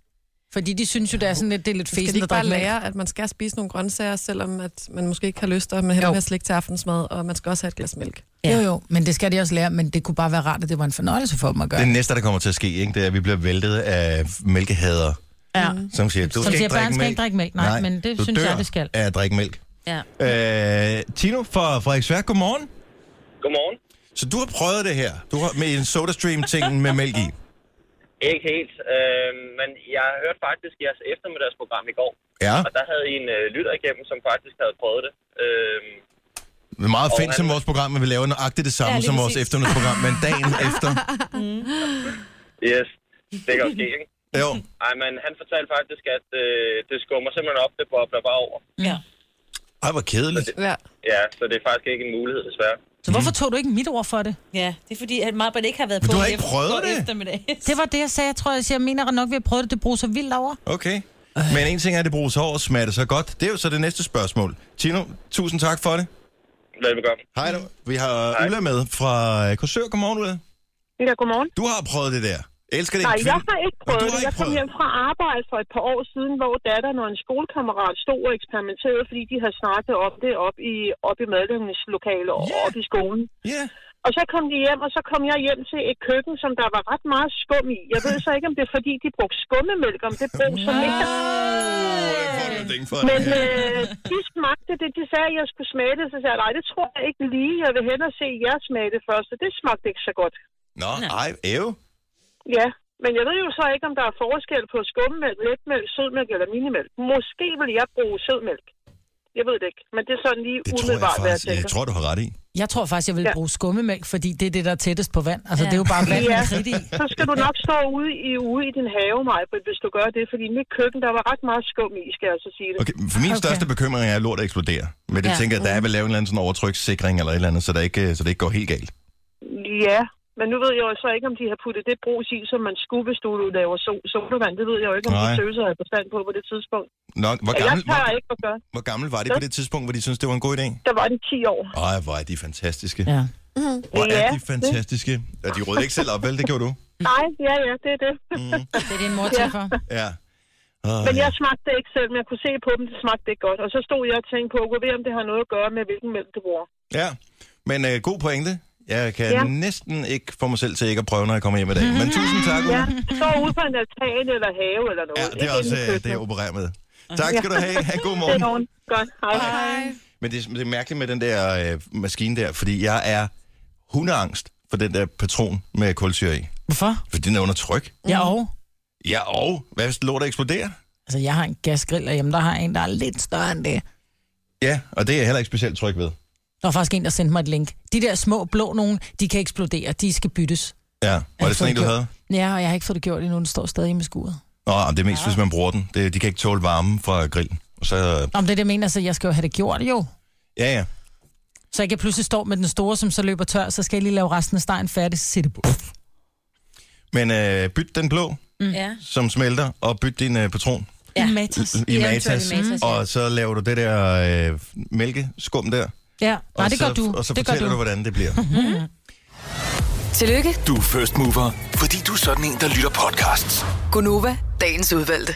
Fordi de synes jo, det er sådan lidt, det er lidt Skal de fæsen ikke at bare drikke mælk. lære, at man skal spise nogle grøntsager, selvom at man måske ikke har lyst, og man hellere Jo. vil have slik til aftensmad, og man skal også have et glas mælk? Jo, jo, men det skal de også lære, men det kunne bare være rart, at det var en fornøjelse for dem at gøre. Det næste, der kommer til at ske, ikke, det er, at vi bliver væltet af mælkehader, Ja. som siger, du skal, Som Mm. siger, ikke, drikke "Børn skal mælk. ikke drikke mælk." Nej, men det du synes dør jeg, det skal. af at drikke mælk. Ja. Øh, Tino fra Frederiksværk, godmorgen. Godmorgen. Så du har prøvet det her. Du har med en sodastream-ting med mælk i. Ikke helt, øh, men jeg hørte faktisk jeres eftermiddagsprogram i går, Ja, og der havde I en øh, lytter igennem, som faktisk havde prøvet det. Øh, det er meget Og fedt som han- vores program, men vi laver nøjagtigt det samme Ja, ja, lige som vores præcis. eftermiddagsprogram, men dagen efter. yes, det kan jo ske, ikke? Jo, Ej, men han fortalte faktisk, at øh, det skummer simpelthen op, det bobler bare over. ja. ej, hvor kedeligt. Ja. Ja, så det er faktisk ikke en mulighed, desværre. Så hvorfor tog du ikke mit ord for det? Ja, det er fordi, at Marbert ikke har været Men på du har ikke prøvet på det? eftermiddag. Det var det, jeg sagde. Jeg tror, jeg siger, jeg mener nok, vi har prøvet det. Det bruger så vildt over. Okay. Men en ting er, at det bruges over og smager det så godt. Det er jo så det næste spørgsmål. Tino, tusind tak for det. Velbekomme. Hej du. Vi har Hej. Ulla med fra øh, Korsør. Godmorgen, Ulla. Ja, godmorgen. Du har prøvet det der. Jeg elsker det. Nej, en jeg kvinde- har ikke Nå, du prøvet har det. ikke Jeg kom prøvet. hjem fra arbejde for et par år siden, hvor datteren og en skolekammerat stod og eksperimenterede, fordi de havde snakket om det op i, op i medlemmenes lokale og Ja. op i skolen. Ja. Og så kom de hjem, og så kom jeg hjem til et køkken, som der var ret meget skum i. Jeg ved så ikke, om det er fordi, de brugte skummemælk, om det brug som ikke. Men øh, de smagte det. De sagde, at jeg skulle smage det. Så sagde jeg, nej, det tror jeg ikke lige. Jeg vil hellere se jer smage det først. Og det smagte ikke så godt. Nå, ej, ev. Ja, men jeg ved jo så ikke, om der er forskel på skummemælk, letmælk, sødmælk eller minimælk. Måske vil jeg bruge sødmælk. Jeg ved det ikke, men det er sådan lige Det tror jeg umiddelbart, hvad jeg faktisk. Jeg tænker. tror, du har ret i. Jeg tror faktisk, jeg vil Ja. bruge skummemælk, fordi det er det, der er tættest på vand. Altså, Ja. det er jo bare vand Ja. med kridt i. Så skal du nok stå ude i, ude i din have, Majbrit, hvis du gør det, fordi mit køkken, der var ret meget skum i, skal jeg så sige det. Okay, for min okay. største bekymring er, at lort eksploderer. Men det ja. Ja. tænker jeg, der er vel lavet en eller anden sådan overtrykssikring eller et eller andet, så, der ikke, så det ikke går helt galt. Ja, men nu ved jeg jo så ikke, om de har puttet det brus i, som man skulle, hvis du laver so- sodavand. Det ved jeg jo ikke, om Nej. de tøser har forstand på på det tidspunkt. Nå, hvor, Og jeg gammel, tager hvor, ikke at gøre. hvor gammel var de på det tidspunkt, hvor de syntes, det var en god idé? Der var de 10 år. Ej, hvor er de fantastiske. Ja. Ja. Mm-hmm. Hvor er Ja, de det- fantastiske. Ja, de rødde ikke selv op, vel? Det gjorde du. Nej, ja, ja, det er det. Mm. Det er din mor til for. Ja. Oh, Men jeg smagte det ikke selv, men jeg kunne se på dem, det smagte ikke godt. Og så stod jeg og tænkte på, jeg ved, om det har noget at gøre med, hvilken mælk du bruger. Ja, men øh, god pointe. Jeg kan ja. Ja. næsten ikke få mig selv til ikke at prøve, når jeg kommer hjem i dag. Men tusind tak, Ulla. Ja, Ja, stå ude på en altan eller have eller noget. det er også øh, det, jeg opererer med. Tak skal du have. Ha' en god Det er morgen. nogen. Godt. Hej. Hej. Men det, er- det er mærkeligt med den der øh, maskine der, fordi jeg er hundeangst for den der patron med kulsyre i. Hvorfor? For den er under tryk. Ja, og? Ja, og hvad hvis lortet eksploderer? Altså, jeg har en gasgrill derhjemme, der har en, der er lidt større end det. Ja, og det er jeg heller ikke specielt tryg ved. Der var faktisk en, der sendte mig et link. De der små blå nogen, de kan eksplodere. De skal byttes. Ja, var det sådan en, du havde? Ja, og jeg har ikke fået det gjort endnu. Den står stadig i med skuret. Nå, det er mest, hvis man bruger den. Det, de kan ikke tåle varmen fra grillen. Og så, øh, Nå, men det er det, jeg mener, så jeg skal jo have det gjort, jo. ja, ja. Så jeg kan pludselig stå med den store, som så løber tør, så skal jeg lige lave resten af stegen færdig, så siger det... Puff. Men øh, byt den blå, Ja. som smelter, og byt din øh, patron. Ja. Ja. Matas. i Eventuelt Matas, Mm. i Matas, ja. og så laver du det der øh, mælkeskum der. Ja, nej, og det så, gør du. Mhm. Og så det gør fortæller du. hvordan det bliver. Mhm. Tillykke, Du er first mover, fordi du er sådan en, der lytter podcasts. Gunova, dagens udvalgte.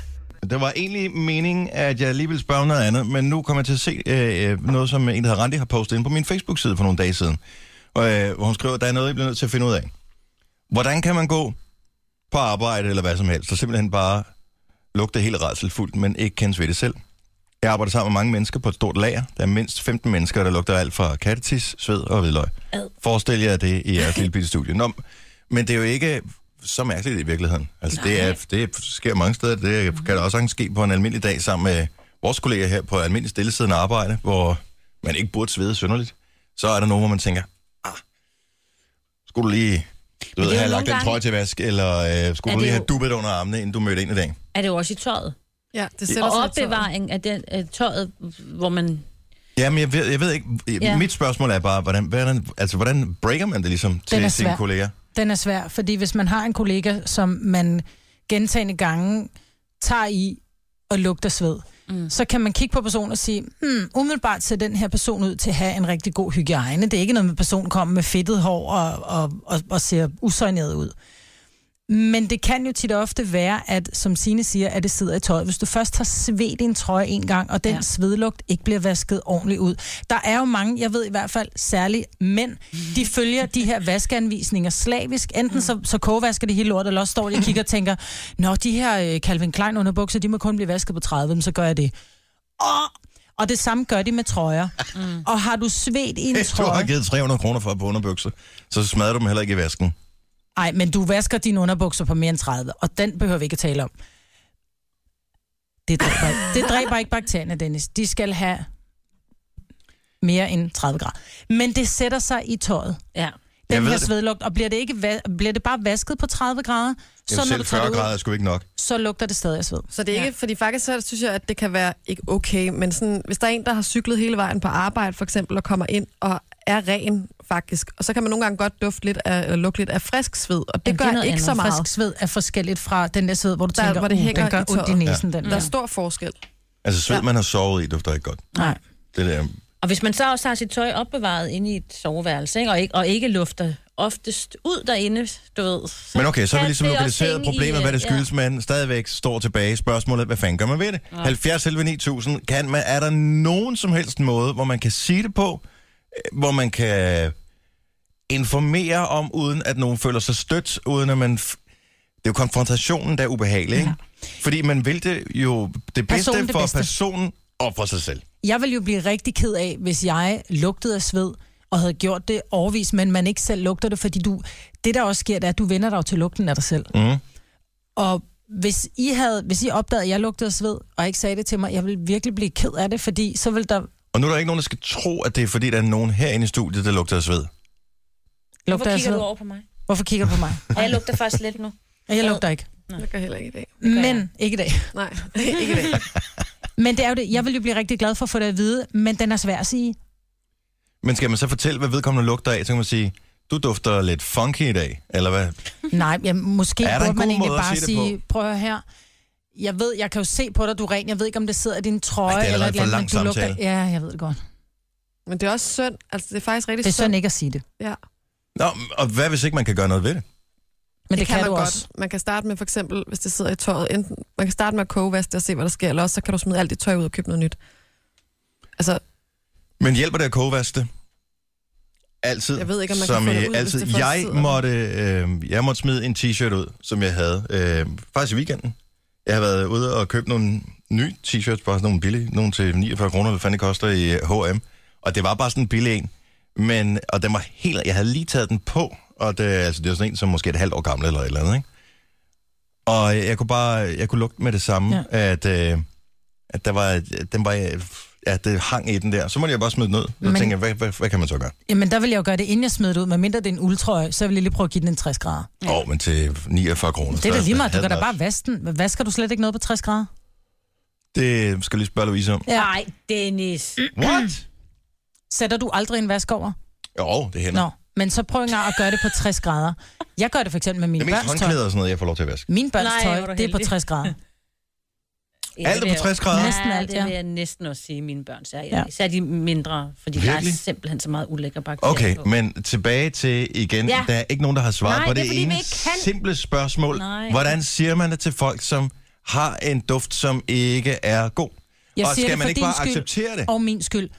det var egentlig meningen, at jeg lige ville spørge om noget andet, men nu kommer jeg til at se øh, øh, noget, som en, der hedder Randi, har postet inde på min Facebook-side for nogle dage siden. Og, øh, hvor hun skriver, at der er noget, jeg bliver nødt til at finde ud af. Hvordan kan man gå på arbejde eller hvad som helst, og simpelthen bare lugte helt rædselfuldt, men ikke kendes ved det selv? Jeg arbejder sammen med mange mennesker på et stort lager. Der er mindst 15 mennesker, der lugter alt fra kattetis, sved og hvidløg. Forestil jer det i jeres lille bitte studie. Nå, men det er jo ikke så mærkeligt i virkeligheden. Altså, det, er, det sker mange steder. Det kan da også sagtens ske på en almindelig dag sammen med vores kolleger her på almindelig stillesiddende arbejde, hvor man ikke burde svede synderligt. Så er der nogen, hvor man tænker, ah, skulle du lige du Men ved, det er jo have nogle lagt den gange- trøje til vask, eller øh, skulle Er du det lige have jo- dubbet under armene, inden du mødte ind i dag? Er det jo også i tøjet? Ja, det Og sætter sig i tøjet. opbevaring af den, øh, tøjet, hvor man... Jamen, jeg ved, jeg ved ikke. Ja. Ja. Mit spørgsmål er bare, hvordan, hvordan, altså, hvordan breaker man det ligesom er til sine svær. kolleger? Den er svær, fordi hvis man har en kollega, som man gentagende gange tager i og lugter sved, mm. så kan man kigge på personen og sige, hmm, umiddelbart ser den her person ud til at have en rigtig god hygiejne. Det er ikke noget med, at personen kommer med fedtet hår og, og, og, og ser usøjneret ud. Men det kan jo tit og ofte være, at som Sine siger, at det sidder i tøjet. Hvis du først har svedt en trøje en gang, og den ja. Ja. svedlugt ikke bliver vasket ordentligt ud. Der er jo mange, jeg ved i hvert fald, særligt mænd, de følger de her vaskeanvisninger slavisk. Enten så, så kogevasker de hele lortet, eller også står de og kigger og tænker, Nå, de her øh, Calvin Klein underbukser, de må kun blive vasket på 30, men så gør jeg det. Og, og det samme gør de med trøjer. Mm. Og har du svedt i en Hvis du har trøje... givet 300 kroner for på underbukser, så smadrer du dem heller ikke i vasken. Nej, men du vasker dine underbukser på mere end 30, og den behøver vi ikke at tale om. Det dræber, det dræber ikke bakterierne, Dennis. De skal have mere end 30 grader. Men det sætter sig i tøjet, Ja. Jeg den ved her det. svedlugt, og bliver det, ikke va- bliver det bare vasket på 30 grader, Så så når selv du tager 40 det ud, grader er sgu ikke nok. så lugter det stadig af sved. Så det er ikke, ja. fordi faktisk så synes jeg, at det kan være ikke okay, men sådan, hvis der er en, der har cyklet hele vejen på arbejde for eksempel, og kommer ind og er ren faktisk, og så kan man nogle gange godt dufte lidt af, eller lugte lidt af frisk sved, og det Jamen, Jamen, gør det er det noget ikke andet. så andet. meget. Frisk sved er forskelligt fra den der sved, hvor du Der, der, tænker, hvor det uh, hænger den gør i ondt i tøjet." næsen, den Der er stor forskel. Altså sved, ja. Ja. man har sovet i, dufter ikke godt. Nej. Det der. Og hvis man så også har sit tøj opbevaret inde i et soveværelse, ikke? Og, ikke, og ikke lufter oftest ud derinde, du ved. Så Men okay, så har vi kan ligesom det også lokaliseret hænge i, problemet, hvad det øh, skyldes, ja. men stadigvæk står tilbage spørgsmålet, hvad fanden gør man ved det? Ja. 70 11 9000, kan man, er der nogen som helst måde, hvor man kan sige det på, øh, hvor man kan informere om, uden at nogen føler sig stødt, uden at man... F- det er jo konfrontationen, der er ubehagelig, ikke? Fordi man vil det jo det bedste Personen det for bedste. personen og for sig selv. Jeg ville jo blive rigtig ked af, hvis jeg lugtede af sved og havde gjort det overvis, men man ikke selv lugter det, fordi du, det der også sker, det er, at du vender dig jo til lugten af dig selv. Mm. Og hvis I, havde, hvis I opdagede, at jeg lugtede af sved, og ikke sagde det til mig, jeg ville virkelig blive ked af det, fordi så ville der Og nu er der ikke nogen, der skal tro, at det er fordi, der er nogen herinde i studiet, der lugter af sved. lugte Mhm. Hvorfor af kigger sved. du over på mig? Hvorfor kigger du på mig? Og jeg lugter faktisk lidt nu. Og Jeg lugter ikke. Jeg gør heller ikke i dag. Men, ikke i dag. Nej, ikke i dag. Men det er jo det. Jeg vil jo blive rigtig glad for at få det at vide, men den er svær at sige. Men skal man så fortælle, hvad vedkommende lugter af, så kan man sige, du dufter lidt funky i dag, eller hvad? Nej, ja, måske Er der en burde man god egentlig måde at bare sige det sige, prøv at høre her, jeg ved, jeg kan jo se på dig, du er ren. Jeg ved ikke, om det sidder i din trøje Ej, det er eller et allerede eller andet, for lang lugter... samtale. Ja, jeg ved det godt. Men det er også synd. Altså, det er faktisk rigtig Det er synd. sådan ikke at sige det. Ja. Nå, og hvad hvis ikke man kan gøre noget ved det? Men det, det kan, man kan du godt. også. Man kan starte med for eksempel, hvis det sidder i tøjet, enten, man kan starte med at kogevaske det og se, hvad der sker, eller også så kan du smide alt dit tøj ud og købe noget nyt. Altså, Men hjælper det at kogevaske det? Altid. Jeg ved ikke, om man som kan få i- det ud, altid. hvis det først jeg, sidder. måtte, øh, jeg måtte smide en t-shirt ud, som jeg havde. Øh, faktisk i weekenden. Jeg har været ude og købt nogle nye t-shirts, bare sådan nogle billige, nogle til 49 kroner, hvad fanden det koster i øh, H&M. Og det var bare sådan en billig en. Men, og den var helt, jeg havde lige taget den på, og det, altså, det var sådan en, som måske er et halvt år gammel eller et eller andet, ikke? Og jeg, jeg kunne bare, jeg kunne lugte med det samme, ja. at, øh, at der var, at den var, øh, ja, det hang i den der. Så måtte jeg bare smide den ud. Så Men- tænkte jeg, hvad, hvad, hvad kan man så gøre? Jamen, der vil jeg jo gøre det, inden jeg smider det ud. Men mindre det er en uldtrøje, så vil jeg lige prøve at give den en 60 grader. Åh, oh, men til 49 kroner. Det er da så lige meget. Du havde kan da den bare vaske den. Men Vasker du slet ikke noget på 60 grader? også. Det skal jeg lige spørge Louise om. Ja. Nej, Dennis. What? Mm. Sætter du aldrig en vask over? Jo, det hænder. Nå, men så prøv engang at gøre det på 60 grader. Jeg gør det for eksempel med Det mine er mest børns tøj. håndklæder og sådan noget, jeg får lov til at vaske. Min børns Nej, hvor er tøj, du det er på heldig. 60 grader. Ja, Alt er det på vil jeg 60 grader. jo- Næsten alt, det ja. vil jeg næsten også sige, mine børn. Så jeg, Ja. ja. Især de mindre, fordi der Virkelig? er simpelthen så meget ulækker bakterier Okay, på. men tilbage til igen, ja. Ja. der er ikke nogen, der har svaret Nej, på det er det, fordi, vi ene ikke kan. simple spørgsmål. Nej. Hvordan siger man det til folk, som har en duft, som ikke er god? Jeg og siger skal det man for ikke din bare skyld. acceptere det? Og min skyld.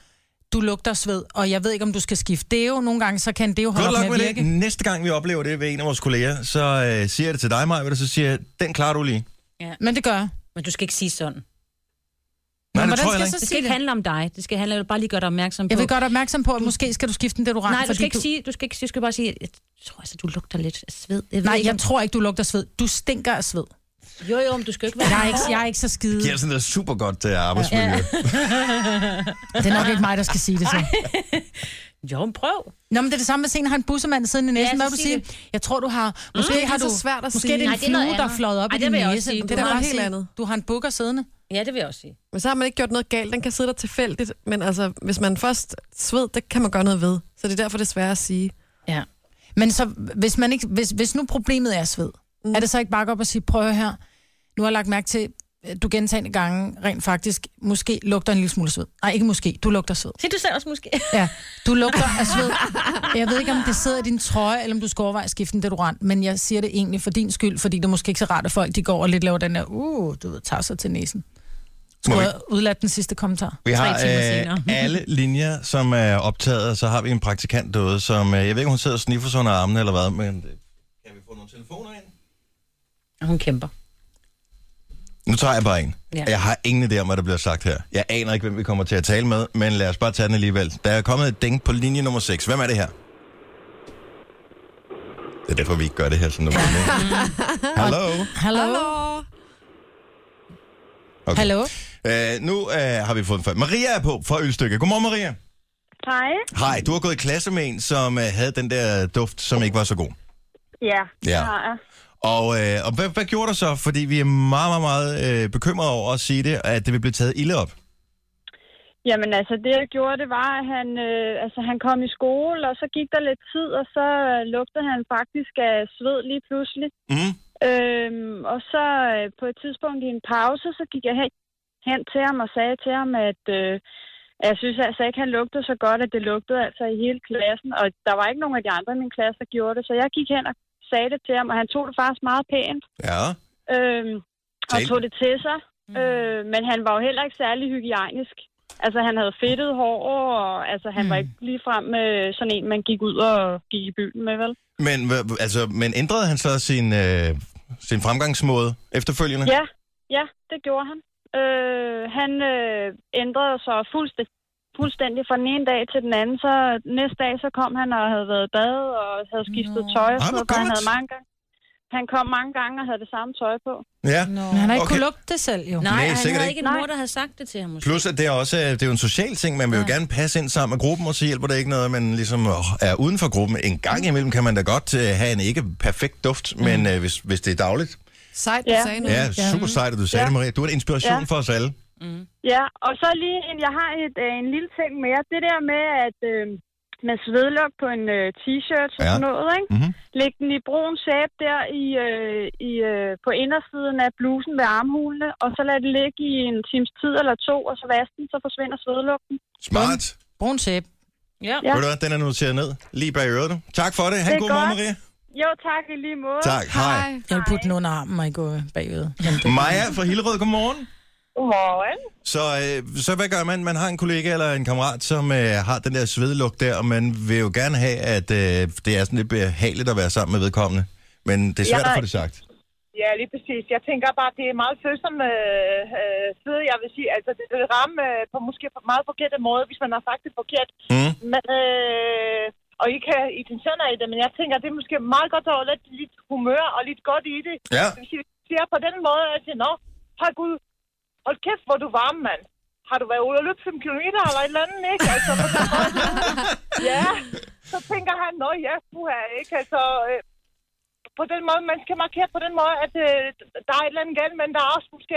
Du lugter sved, og jeg ved ikke, om du skal skifte deo. Nogle gange, så kan deo holde Godt op luck med med at det. virke. Næste gang, vi oplever det ved en af vores kolleger, så øh, siger jeg det til dig, Maja, og så siger jeg, den klarer du lige. Men det gør jeg. Men du skal ikke sige sådan. Nej, Men det hvordan tror jeg da skal jeg ikke. Det så skal sige ikke det? handle om dig. Det skal handle om, bare lige gøre dig opmærksom på. Jeg vil godt opmærksom på, at måske skal du skifte den deodorant. Nej, du fordi skal ikke sige, du skal ikke, du skal bare sige, jeg tror altså, du lugter lidt af sved. Jeg ved Nej, ikke, jeg om- tror ikke, du lugter sved. Du stinker af sved. Jo, jo, men du skal jo ikke være... Jeg er ikke, jeg er ikke så skide. giver sådan noget super godt uh, arbejdsmiljø. Ja. Det er nok ikke mig, der skal sige det så. Jo, men prøv. Nå, men det er det samme, hvis en har en bussemand siden i Ja, næsen. så Hvad vil du sig sige? Jeg tror, du har... Måske er har så du... svært at måske sige. er det en Nej, det er noget flue, der er andet. fløjet op Ej, i det din vil jeg også næse. sige. Du Det er kan noget bare helt sige, andet. Du har en bukker siddende. Ja, det vil jeg også sige. men så har man ikke gjort noget galt. Den kan sidde der tilfældigt. Men altså, hvis man først sved, det kan man gøre noget ved. Så det er derfor, det er svært at sige. Ja. Men så, hvis, man ikke, hvis, hvis nu problemet er sved, mm. er det så ikke bare at gå op og sige, prøv at høre her, nu har jeg lagt mærke til, at du gentagende gange rent faktisk, måske lugter en lille smule sved. Nej, ikke måske, du lugter sved. Siger du selv også måske? Ja, du lugter af sved. Jeg ved ikke, om det sidder i din trøje, eller om du skal overveje at skifte en deodorant, men jeg siger det egentlig for din skyld, fordi det er måske ikke så rart, at folk de går og lidt laver den der, uh, du ved, tager sig til næsen. Må Skulle vi- jeg udlade den sidste kommentar? Vi har Tre timer øh, senere. alle linjer, som er optaget, og så har vi en praktikant derude, som... Øh, jeg ved ikke, om hun sidder og sniffer sådan under armene eller hvad, men... øh, Kan vi få nogle telefoner ind? Hun kæmper. Nu tager jeg bare en. Ja. Ja. Jeg har ingen idé om, hvad der bliver sagt her. Jeg aner ikke, hvem vi kommer til at tale med, men lad os bare tage den alligevel. Der er kommet et ding på linje nummer 6. Hvem er det her? Det er derfor, vi ikke gør det her sådan Mm. noget. Hallo? Hallo? Hallo? Okay. Hallo? Øh, nu øh, har vi fået en fald. Maria er på fra Ølstykke. Godmorgen, Maria. Hej. Hej, du har gået i klasse med en, som øh, havde den der duft, som ikke var så god. Ja, det Ja. har jeg. Og, øh, og hvad, hvad gjorde du så? Fordi vi er meget, meget, meget øh, bekymrede over at sige det, at det vil blive taget ilde op. Jamen altså, det jeg gjorde, det var, at han, øh, altså, han kom i skole, og så gik der lidt tid, og så øh, lugtede han faktisk af sved lige pludselig. Mm. Øhm, og så øh, på et tidspunkt i en pause, så gik jeg hen, hen til ham og sagde til ham, at øh, jeg synes altså ikke, han lugtede så godt, at det lugtede altså i hele klassen. Og der var ikke nogen af de andre i min klasse, der gjorde det, så jeg gik hen og sagde det til ham, og han tog det faktisk meget pænt. Ja. Øhm, og Talte. tog det til sig. Mm. Øh, men han var jo heller ikke særlig hygiejnisk. Altså, han havde fedtet hår, og altså, han mm. var ikke ligefrem øh, sådan en, man gik ud og gik i byen med, vel? Men, hva- hva- altså, men ændrede han så sin, øh, sin fremgangsmåde efterfølgende? Ja, ja, det gjorde han. Øh, han øh, ændrede sig fuldstændig, fuldstændig fra den ene dag til den anden. Så næste dag, så kom han og havde været i bad og havde skiftet tøj. Ej, Og sådan Ah, hvor noget, for han, godt. havde mange gange, han kom mange gange og havde det samme tøj på. Ja. Men han har Okay. ikke okay. kunne lugte det selv, jo. Nej, Nej, Nej han sikkert havde ikke. ikke en mor, der havde sagt det til ham. Måske. Plus, at det er også øh, det er jo en social ting. Man vil jo gerne passe ind sammen med gruppen, og så hjælper det ikke noget, at man ligesom åh, er uden for gruppen. En gang imellem kan man da godt øh, have en ikke perfekt duft, men øh, hvis, hvis det er dagligt. Sejt, du Ja. sagde noget. Ja, super sejt, at du sagde Ja. det, Maria. Du er en inspiration Ja. for os alle. Ja, og så lige en, jeg har et, øh, en lille ting mere. Det der med, at øh, med svedlok på en øh, t-shirt og Ja. sådan noget, ikke? Mhm. Læg den i brun sæbe der i, øh, i, øh, på indersiden af blusen ved armhulene, og så lad det ligge i en times tid eller to, og så vask den, så forsvinder svedlugten. Smart. Brun sæbe. Ja. Ved du hvad, den er noteret ned lige bag øret nu. Tak for det. Ha' Det en er god morgen, godt. Maria. Jo, tak i lige måde. Tak. Hej. Hej. Jeg vil putte den under armen og ikke gå bagved. Maja fra Hillerød, godmorgen. Godmorgen. Så, øh, så hvad gør man? Man har en kollega eller en kammerat, som øh, har den der svedlugt der, og man vil jo gerne have, at øh, det er sådan lidt behageligt at være sammen med vedkommende. Men det er svært Ja. at få det sagt. Ja, lige præcis. Jeg tænker bare, at det er meget følsom øh, øh, side, jeg vil sige. Altså, det vil ramme øh, på måske på meget forkerte måde, hvis man har sagt det forkert. Mm. Men, øh, og I kan intentioner i det, men jeg tænker, det er måske meget godt at have lidt, lidt humør og lidt godt i det. Ja. Det vil sige, Hvis jeg siger på den måde, at jeg siger, nå, har Gud, hold kæft, hvor er du varm, mand. Har du været ude og løbe 5 km eller et eller andet, ikke? Altså, på den måde. ja, så tænker han, nå ja, puha, ikke? Altså, øh, på den måde, man skal markere på den måde, at øh, der er et eller andet galt, men der er også måske,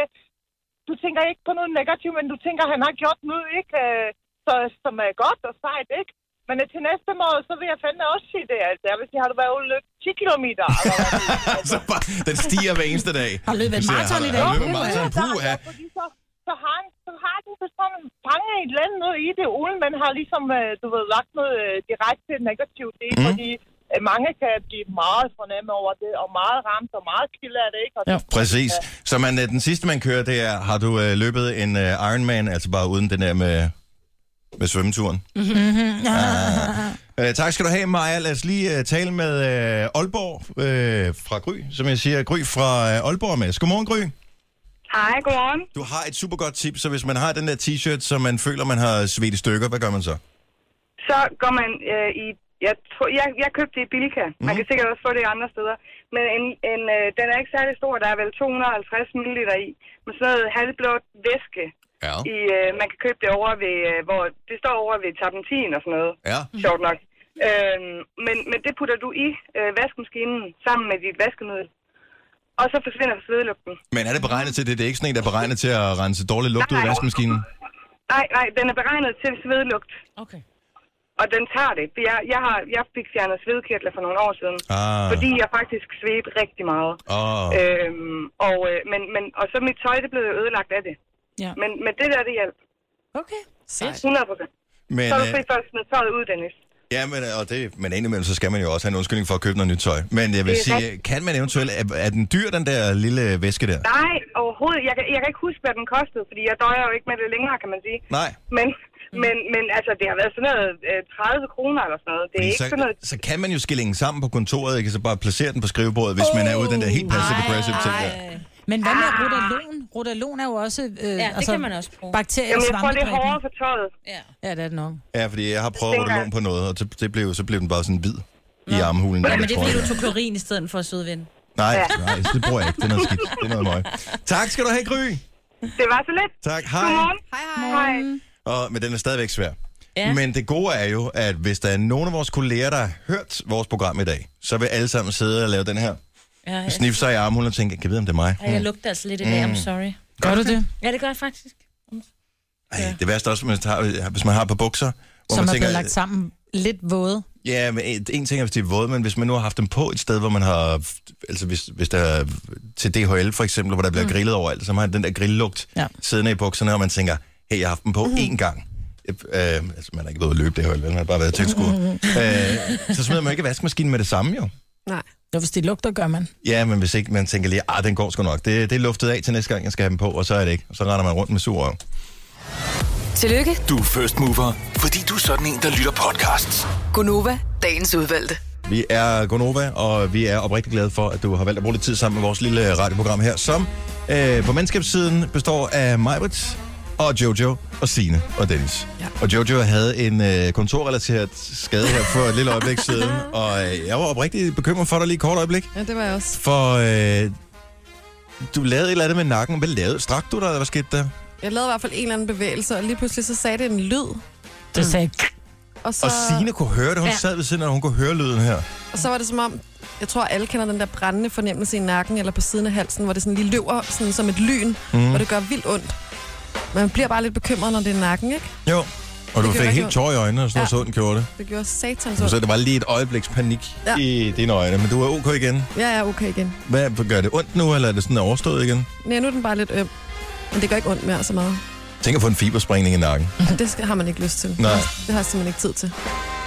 du tænker ikke på noget negativt, men du tænker, han har gjort noget, ikke? Øh, så, som er godt og sejt, ikke? Men øh, til næste måde, så vil jeg fandme også sige det, altså. Jeg vil sige, har du været ude og løbe 10 km? Eller hvad? så bare, den stiger hver eneste dag. Har løbet et Så jeg maraton har- i har dag. løbet et maraton. Puha. Ja, fordi så, så, har, han- så har den bestemt fanget et eller andet noget i det, uden man har ligesom, øh, du ved, lagt noget øh, direkte negativt i, mm. fordi øh, mange kan blive meget fornemme over det, og meget ramt, og meget kilde af det, ikke? Og Ja. ja. Præcis. Så man, øh, den sidste, man kører, det er, har du øh, løbet en øh, Ironman, altså bare uden den der med, med svømmeturen. Mm-hmm. Mhm. Ah. Øh, tak skal du have, Maja. Lad os lige øh, tale med øh, Aalborg øh, fra Gry, som jeg siger, Gry fra øh, Aalborg er med. os. Godmorgen, Gry. Hej, godmorgen. Du har et super godt tip, så hvis man har den der t-shirt, som man føler, man har svedt i stykker, hvad gør man så? Så går man øh, i... Jeg, tror, jeg, jeg købte det i Bilka. Man Mhm. mm. kan sikkert også få det andre steder. Men en, en, øh, den er ikke særlig stor. Der er vel 250 ml i. Med sådan noget halvblåt væske. Ja. I, øh, man kan købe det over ved... Øh, hvor det står over ved Tapentin og sådan noget. Ja. Sjovt nok. Øhm, men, men det putter du i øh, vaskemaskinen sammen med dit vaskemiddel. Og så forsvinder svedlugten. Men er det beregnet til det? Det er ikke sådan en, der er beregnet til at rense dårlig lugt ud af Nej. vaskemaskinen? Nej, nej, den er beregnet til svedlugt. Okay. Og den tager det. Jeg, jeg, har, jeg fik fjernet svedkirtler for nogle år siden. Ah. Fordi jeg faktisk svedte rigtig meget. øh, Åh. Øhm, og, øh, men, men, og så mit tøj, det blev jo ødelagt af det. Ja. Men, men det der, det hjalp. Okay. Sejt. 100 procent. Men, Så er du øh, fri først med tøjet ud, Dennis. Ja, men, øh, og det, men indimellem, så skal man jo også have en undskyldning for at købe noget nyt tøj. Men jeg vil Det er sige, kan man eventuelt... Er, er den dyr, den der lille væske der? Nej, overhovedet. Jeg, kan- jeg kan ikke huske, hvad den kostede, fordi jeg døjer jo ikke med det længere, kan man sige. Nej. Men, men, men altså, det har været sådan noget øh, 30 kroner eller sådan noget. Det er ikke sådan Så, noget... så kan man jo skille den sammen på kontoret, ikke? Så bare placere den på skrivebordet, hvis oh, man er ude i den der helt passive aggressive ting der. Men hvad med rotalon? Rotalon er jo også... Øh, ja, det kan man også bruge. Bakterier, Jamen, jeg tror, det er svampedræbende. hårdere for tøjet. Ja. Ja, det er det nok. Ja, fordi jeg har prøvet tænker at låne jeg. på noget, og så, det blev, så blev den bare sådan hvid i armhulen. ja, men det er fordi, du tog klorin i stedet for sødvind. Nej, nej, så det bruger jeg ikke. Det er noget skidt. Det er noget møg. Tak skal du have, Gry. Det var så let. Tak, hej. Godmorgen. Hej, hej. Hej. Og, men den er stadigvæk svær. Ja. Ja. Men det gode er jo, at hvis der er nogen af vores kolleger, der har hørt vores program i dag, så vil alle sammen sidde og lave den her. Ja, jeg, Snif sig i armhulen og tænke, kan jeg vide, om det er mig? Ej, jeg lugter altså lidt i dag, Mm. I'm sorry. Gør du det? Ja, det gør jeg faktisk. Ej, det værste er også, hvis man har, hvis man har på bukser, hvor Som man er tænker, blevet lagt sammen lidt våde. ja, men en- en ting er, hvis de er våde, men hvis man nu har haft dem på et sted, hvor man har, altså hvis, hvis der er til DHL for eksempel, hvor der bliver mm. grillet overalt, så har den der grilllugt ja. Mm-hmm. Ja. siddende i bukserne, og man tænker, hey, jeg har haft dem på én gang. Øh, øh, altså, man har ikke været ude at løbe det hold, man har bare været tilskuer. øh, så smider man jo ikke i vaskemaskinen med det samme, jo. Nej. Jo, hvis det lugter, gør man. Ja, men hvis ikke man tænker lige, ah, den går sgu nok. Det, det er luftet af til næste gang, jeg skal have dem på, og så er det ikke. Og så render man rundt med sur røv. Tillykke, Du er first mover, fordi du er sådan en, der lytter podcasts. Gunova, dagens udvalgte. Vi er Gonova, og vi er oprigtig glade for, at du har valgt at bruge lidt tid sammen med vores lille radioprogram her, som øh, på mandskabssiden består af Majbrit og Jojo og Sine og Dennis. Ja. Og Jojo havde en øh, kontorrelateret skade her for et lille øjeblik siden, og øh, jeg var oprigtig bekymret for dig lige et kort øjeblik, Ja, det var jeg også. for øh, du lavede et eller andet med nakken. Hvad lavede Strak du dig, eller hvad skete der? Jeg lavede i hvert fald en eller anden bevægelse, og lige pludselig så sagde det en lyd. Det sagde Og Så... Mm. så, Og Sine kunne høre det. Hun ja. Ja. sad ved siden af, og hun kunne høre lyden her. og så var det som om, jeg tror alle kender den der brændende fornemmelse i nakken eller på siden af halsen, hvor det sådan lige løber sådan som et lyn, Mm. mm. og det gør vildt ondt. Man bliver bare lidt bekymret, når det er nakken, ikke? Jo. Og du gjorde fik jeg helt godt. tår i øjnene, og sådan noget, Ja. så den gjorde det. Det gjorde satans Så ondt. det var lige et øjebliks panik ja. Ja. i dine øjne, men du er ok igen. Ja, ja, okay igen. Hvad, gør det ondt nu, eller er det sådan overstået igen? Nej, nu er den bare lidt øm. Men det gør ikke ondt mere så meget. Tænk at få en fibersprængning i nakken. Og det skal, har man ikke lyst til. Mhm. Nej. Det har jeg simpelthen ikke tid til.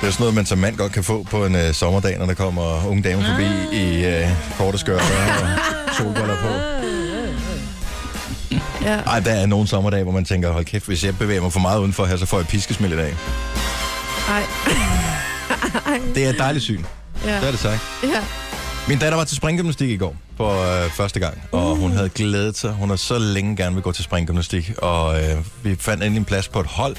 Det er sådan noget, man som mand godt kan få på en øh, sommerdag, når der kommer unge damer forbi Ah. i øh, korte skørter og solbriller på. Ja. Ej, der er nogle sommerdage, hvor man tænker, hold kæft, hvis jeg bevæger mig for meget udenfor her, så får jeg piskesmæld i dag. Ej. Det er et dejligt syn. Ja. Det er det sagt. ja. Min datter var til springgymnastik i går for øh, første gang, Uh. og hun havde glædet sig. Hun har så længe gerne vil gå til springgymnastik, og øh, vi fandt endelig en plads på et hold,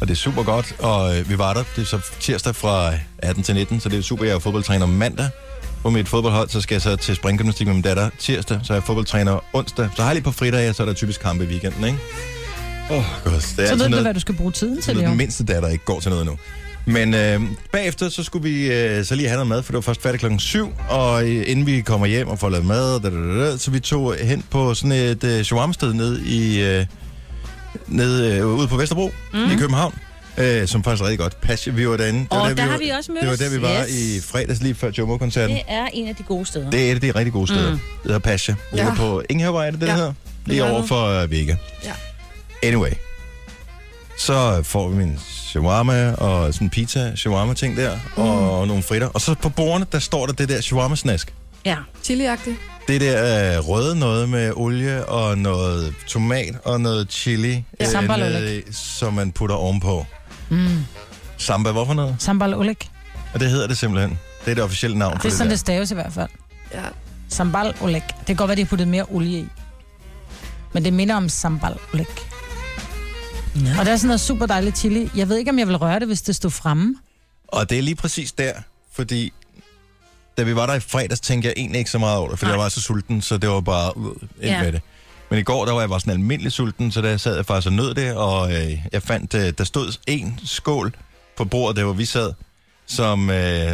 og det er super godt. Og øh, vi var der, det er så tirsdag fra 18 til 19, så det er super, jeg er fodboldtræner mandag på mit fodboldhold, så skal jeg så til springgymnastik med min datter tirsdag, så er jeg fodboldtræner onsdag. Så har jeg lige på fridage, så er der typisk kampe i weekenden, ikke? Åh, oh, god. Det er Så altid ved du, noget- hvad du skal bruge tiden til, til den jo. mindste datter ikke går til noget nu. Men øh, bagefter, så skulle vi øh, så lige have noget mad, for det var først færdigt klokken 7, og øh, inden vi kommer hjem og får lavet mad, da, da, da, da, så vi tog hen på sådan et øh, shawarma-sted nede, i, øh, nede øh, ude på Vesterbro mm. i København, øh, som faktisk er rigtig godt. Pas, vi var derinde. Det var der, Og der vi har var, vi også mødtes. det var der, vi var Yes. i fredags lige før Jomo-koncerten. Det er en af de gode steder. Det er et af de rigtig gode steder. Mm. Det hedder Pasha. Det ja. Ja. er på Ingehavevej, er det det, ja. Ja. hedder? Lige Det er over det. for uh, Vega. Ja. Anyway. Så får vi min shawarma og sådan en pizza shawarma ting der, mm. og nogle fritter. Og så på bordene, der står der det der shawarma snask. Ja. chili Det der øh, røde noget med olie og noget tomat og noget chili, Ja. Sambal nede i, som man putter ovenpå. Mm. Samba, hvorfor noget? Sambal olæk. Og det hedder det simpelthen. Det er det officielle navn for Det er det, sådan, der. det staves i hvert fald. Ja. Sambal olæk. Det kan godt være, de har puttet mere olie i. Men det minder om sambal olæk. Ja. Og der er sådan noget super dejligt chili. Jeg ved ikke, om jeg vil røre det, hvis det stod fremme. Og det er lige præcis der, fordi da vi var der i fredags, tænkte jeg egentlig ikke så meget over det, fordi Nej. jeg var så sulten, så det var bare ud ind Ja. med det. Men i går, der var jeg bare sådan almindelig sulten, så der sad jeg faktisk og nød det, og øh, jeg fandt, øh, der stod en skål på bordet, der hvor vi sad, som, øh,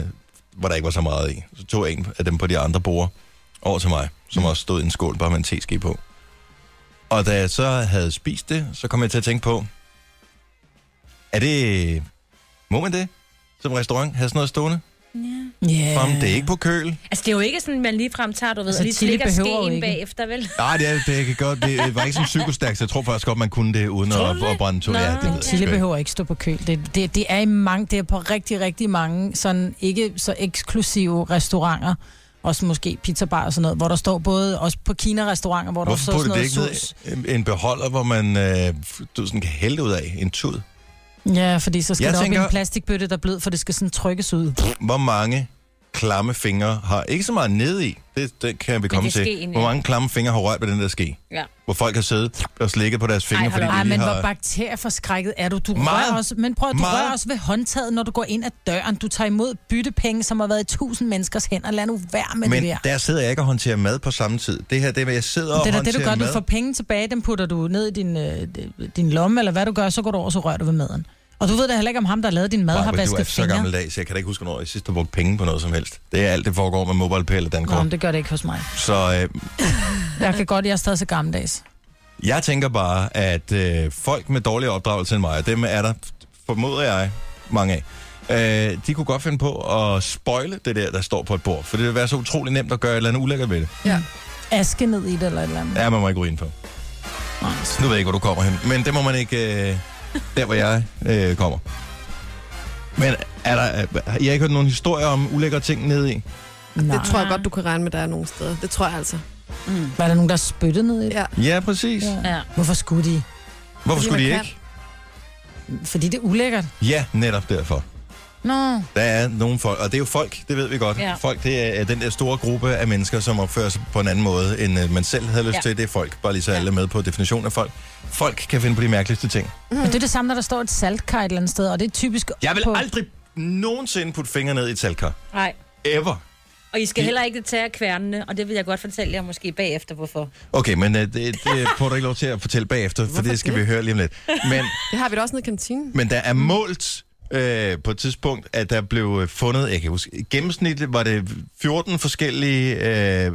hvor der ikke var så meget i. Så tog jeg en af dem på de andre borde over til mig, som Mm. også stod i en skål, bare med en teske på. Og da jeg så havde spist det, så kom jeg til at tænke på, er det... Må man det? Som restaurant have sådan noget stående? Ja. Frem, det er ikke på køl. Altså, det er jo ikke sådan, man ligefrem tager, du ved, Altså, altså, lige chili slikker behøver jo skeen ikke. bagefter, vel? Nej, det, er, det kan godt. Det var ikke sådan psykostærkt, så jeg tror faktisk godt, man kunne det uden Tror at, du det? at brænde to. Nå, Ja, det ved men jeg Chili sgu ikke. behøver ikke stå på køl. Det, det, det, er i mange, det er på rigtig, rigtig mange sådan ikke så eksklusive restauranter. Også måske pizzabar og sådan noget, hvor der står både også på Kina-restauranter, hvor Hvorfor der står putter sådan det noget ikke sus. ned i en beholder, hvor man øh, du, ved, sådan kan hælde ud af en tud? Ja, fordi så skal Jeg jeg det op tænker... i tænker- en plastikbøtte, der er blød, for det skal sådan trykkes ud. Hvor mange klamme fingre har... Ikke så meget nede i, det, det kan vi komme det er til. skeen, Hvor ja. mange klamme fingre har rørt ved den der ske? Ja. Hvor folk har siddet og slikket på deres fingre, hold fordi op. de Ej, lige men har... hvor bakterieforskrækket er du? Du Meget. rører også, men prøv, at- du Meget. rører også ved håndtaget, når du går ind ad døren. Du tager imod byttepenge, som har været i tusind menneskers hænder. Lad nu være med Men det der. der sidder jeg ikke og håndterer mad på samme tid. Det her, det er, hvad jeg sidder og Det er da det, håndterer du gør. mad. Du får penge tilbage, dem putter du ned i din, øh, din lomme, eller hvad du gør, så går du over, så rører du ved maden. Og du ved da heller ikke, om ham, der lavede din mad, Maja, har men du er vasket så fingre. gammeldags, jeg kan da ikke huske, hvornår jeg sidst har brugt penge på noget som helst. Det er alt, det foregår med MobilePay eller Nå, Dankort. men det gør det ikke hos mig. Så øh, Jeg kan godt, jeg er stadig så gammeldags. jeg tænker bare, at øh, folk med dårligere opdragelse end mig, og dem er der, formoder jeg, mange af, øh, de kunne godt finde på at spoile det der, der står på et bord. For det vil være så utrolig nemt at gøre et eller andet ulækkert ved det. Ja. Aske ned i det, eller et eller andet. Ja, man må ikke ryge ind på. Nu ved jeg ikke, hvor du kommer hen. Men det må man ikke... Øh, der, hvor jeg øh, kommer. Men er der... øh, I har ikke hørt nogen historier om ulækre ting nede i? Nej. Det tror jeg godt, du kan regne med, der er nogle steder. Det tror jeg altså. Mm. Var der nogen, der spyttede ned i det? Ja. Ja, præcis. Ja. Ja. Hvorfor skulle de? Hvorfor Fordi skulle de man ikke? kan. Fordi det er ulækkert. Ja, netop derfor. Nå. Der er nogle folk, og det er jo folk, det ved vi godt. Ja. Ja. Folk, det er er den der store gruppe af mennesker, som opfører sig på en anden måde, end øh, man selv havde lyst Ja. ja. til. Det er folk, bare lige så alle er med på definitionen af folk. Folk kan finde på de mærkeligste ting. Mm. Men det er det samme, når der står et saltkar et eller andet sted, og det er typisk... Jeg vil på... aldrig nogensinde putte fingre ned i et talkar. Nej. Ever. Og I skal heller ikke tage kværnene, og det vil jeg godt fortælle jer måske bagefter, hvorfor. Okay, men øh, det, det får du ikke lov til at fortælle bagefter, for det skal vi høre lige om lidt. Men, Det har vi da også nede i kantinen. men der er målt øh, på et tidspunkt, at der blev øh, fundet, jeg kan ikke huske, gennemsnitligt var det 14 forskellige, øh,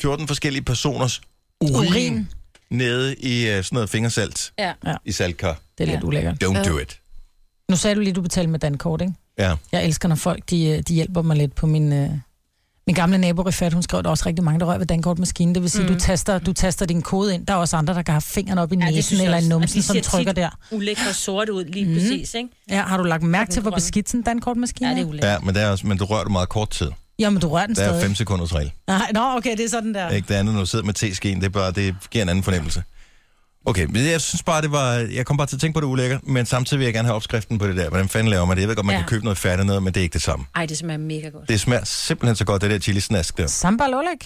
14 forskellige personers urin, Urin. urin. nede i øh, sådan noget fingersalt Ja. i saltkar. Det er lidt ulækkert. Don't Ja. do it. Nu sagde du lige, du betalte med Dankort, ikke? Ja. Jeg elsker, når folk de, øh, de hjælper mig lidt på min... Øh... Min gamle nabo Rifat, hun skrev, at der er også rigtig mange, der rører ved dankortmaskinen. Det vil sige, mm. du, taster, du taster din kode ind. Der er også andre, der kan have fingrene op i det ja, synes næsen jeg eller i også. Og numsen, de som ser trykker tit der. Mhm. Ulækre sorte ud, lige mm. præcis, ikke? Ja, har du lagt mærke til, hvor grønne. beskidt sådan en dankortmaskine Ja, er? det er ulækkert. ja, men, der er også, men du rører du meget kort tid. Jamen, du rører den Der er stadig. 5 sekunders regel. Nej, nå, okay, det er sådan der. Ikke det andet, når du sidder med teskeen, det, er bare, det giver en anden fornemmelse. Okay, men jeg synes bare, det var... Jeg kom bare til at tænke på, det ulækker, men samtidig vil jeg gerne have opskriften på det der. Hvordan fanden laver man det? Jeg ved godt, man Ja. ja. kan købe noget færdigt noget, men det er ikke det samme. Ej, det smager mega godt. Det smager simpelthen så godt, det der chili snask der. Sambal Oleg.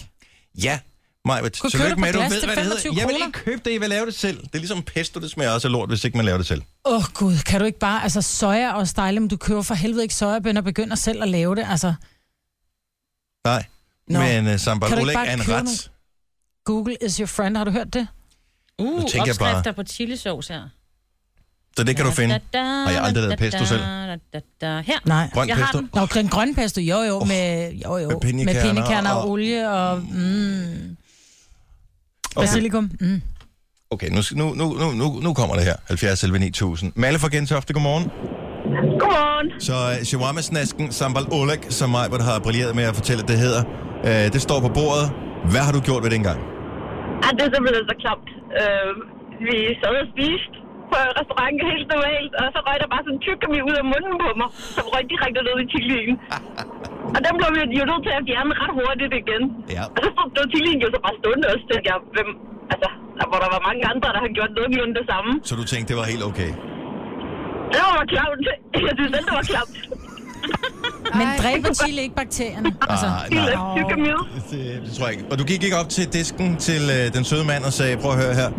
Ja, Majbet, Kunne købe tillykke det på med, at du glas ved, til hvad det hedder. 25 Jeg vil kroner. ikke købe det, I vil lave det selv. Det er ligesom pesto, det smager også af lort, hvis ikke man laver det selv. Åh oh, gud, kan du ikke bare, altså soja og stejle, men du køber for helvede ikke sojabønner og begynder selv at lave det, altså Nej, Nå. Nå. men uh, sambal Kan du ikke oleg bare er en købe ret. nogle- Google is your friend, har du hørt det? Uh, tænker jeg bare- opskrifter på chilisauce her. Så det kan du finde. Har Har jeg aldrig lavet pesto selv? Her. Nej. Grøn Jeg har pesto. den. Nå, den grønne pesto, jo jo, oh, med, jo, jo, med pinjekerner med pindekerner og, og- olie og mm, Okay. basilikum. Mm. Okay, nu, nu, nu, nu- nu, nu kommer det her. 70 11 9000. Malle fra Gentofte, godmorgen. Godmorgen. Så øh, shawarma-snasken Sambal Oleg, som Majbert har brilleret med at fortælle, at det hedder, øh, det står på bordet. Hvad har du gjort ved det engang? Ja, det er simpelthen så klamt. Øh, vi sad og spiste på restauranten helt normalt, og så røg der bare sådan en tyggegummi ud af munden på mig, som røg direkte ned i chilien. Og den blev vi jo nødt til at fjerne ret hurtigt igen. Ja. Og så stod chilien jo så bare stående også, tænkte jeg, hvem, altså, der, hvor der var mange andre, der har gjort nogenlunde det samme. Så du tænkte, det var helt okay. Det var klamt. Jeg synes selv, det var klamt. Men dræber chili ikke Altså. bakterierne? Ah, Lille nej. tyggegummi. Det, det tror jeg ikke. Og du gik ikke op til disken til øh, den søde mand og sagde, prøv at høre her,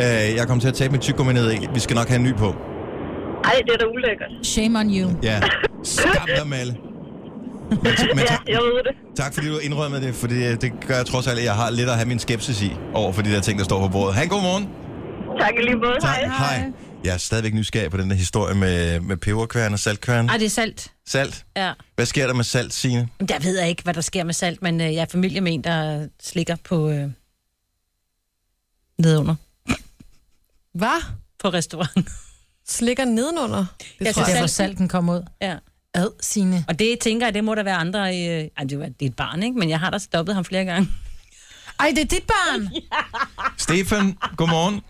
øh, jeg kommer til at tage mit tyggegummi ned i, vi skal nok have en ny på. Ej, det er da ulækkert. Shame on you. Ja, skam dig, Malle. Men, men Ja, tak, jeg ved det. tak fordi du indrømmede det, for det, det gør jeg trods alt, at jeg har lidt at have min skepsis i over for de der ting, der står på bordet. Ha' en god morgen. Tak i lige måde. Hej. Tak. Hej. Jeg er stadigvæk nysgerrig på den der historie med, med peberkværn og saltkværn. Ej, det er salt. Salt. Ja. Hvad sker der med salt, Signe? Jamen, Der ved jeg ikke, hvad der sker med salt, men øh, jeg er familie med en, der slikker på øh, nedunder Hvad? på restaurant. Slikker nedenunder? Det Jeg tror synes, jeg. Der hvor Salten. salten kommer ud. Ja. Ad, sine. Og det tænker jeg, det må der være andre... Øh, ej, det, var, det er et barn, ikke? Men jeg har da stoppet ham flere gange. Ej, det er dit barn! Stefan, godmorgen.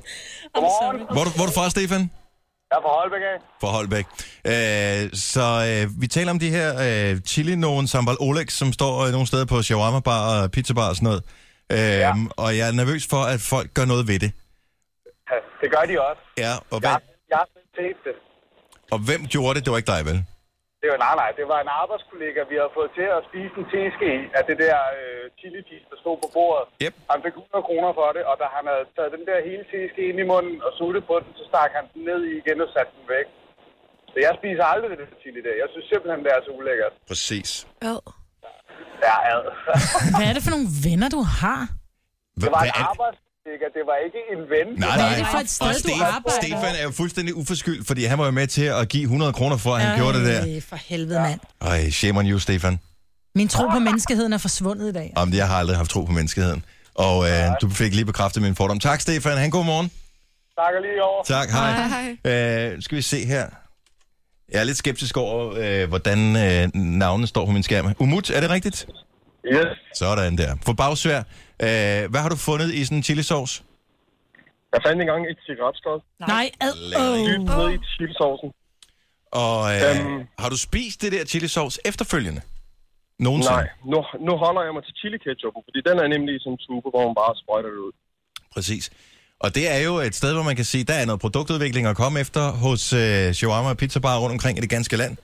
Godmorgen. Hvor er du, hvor er du fra, Stefan? Jeg er fra Holbæk af. Fra Holbæk. Øh, så øh, vi taler om de her øh, chili nogen sambal oleg, som står øh, nogle steder på shawarma bar og pizza bar og sådan noget. Øh, ja. Og jeg er nervøs for, at folk gør noget ved det. Ja, Det gør de også. Ja, og, hvad, Jeg, ja. jeg har selv set det. og hvem gjorde det? Det var ikke dig, vel? Det var, nej, nej, det var en arbejdskollega, vi havde fået til at spise en teske i, af det der øh, chili cheese, der stod på bordet. Yep. Han fik 100 kroner for det, og da han havde taget den der hele teske ind i munden og suttet på den, så stak han den ned i igen og satte den væk. Så jeg spiser aldrig det der chili der. Jeg synes simpelthen, det er så ulækkert. Præcis. Ad. Ja, ad. Hvad er det for nogle venner, du har? Hva, Det var hvad en er- arbejdskollega, det var ikke en ven. Nej, Hvad er nej. det for et sted, og du arbejder? Stefan er jo fuldstændig uforskyldt, fordi han var jo med til at give 100 kroner for, at han gjorde det der. Ej, for helvede, mand. Ej, shame on you, Stefan. Min tro på menneskeheden er forsvundet i dag. Jamen, jeg har aldrig haft tro på menneskeheden. Og øh, du fik lige bekræftet min fordom. Tak, Stefan. Han god morgen. Tak og lige over. Tak, hej. Hej. Øh, skal vi se her. Jeg er lidt skeptisk over, øh, hvordan øh, navnene står på min skærm. Umut, er det rigtigt? Yes. Sådan der. For bagsvær, øh, hvad har du fundet i sådan en chilisauce? Jeg fandt engang et cigaretskod. Nej, ad. Dybt ned i chilisaucen. Og øh, Øhm. har du spist det der chilisauce efterfølgende? Nogensinde? Nej, nu, nu holder jeg mig til chili ketchupen, fordi den er nemlig i sådan en tube, hvor man bare sprøjter det ud. Præcis. Og det er jo et sted, hvor man kan sige, der er noget produktudvikling at komme efter hos øh, shawarma og pizzabar rundt omkring i det ganske land.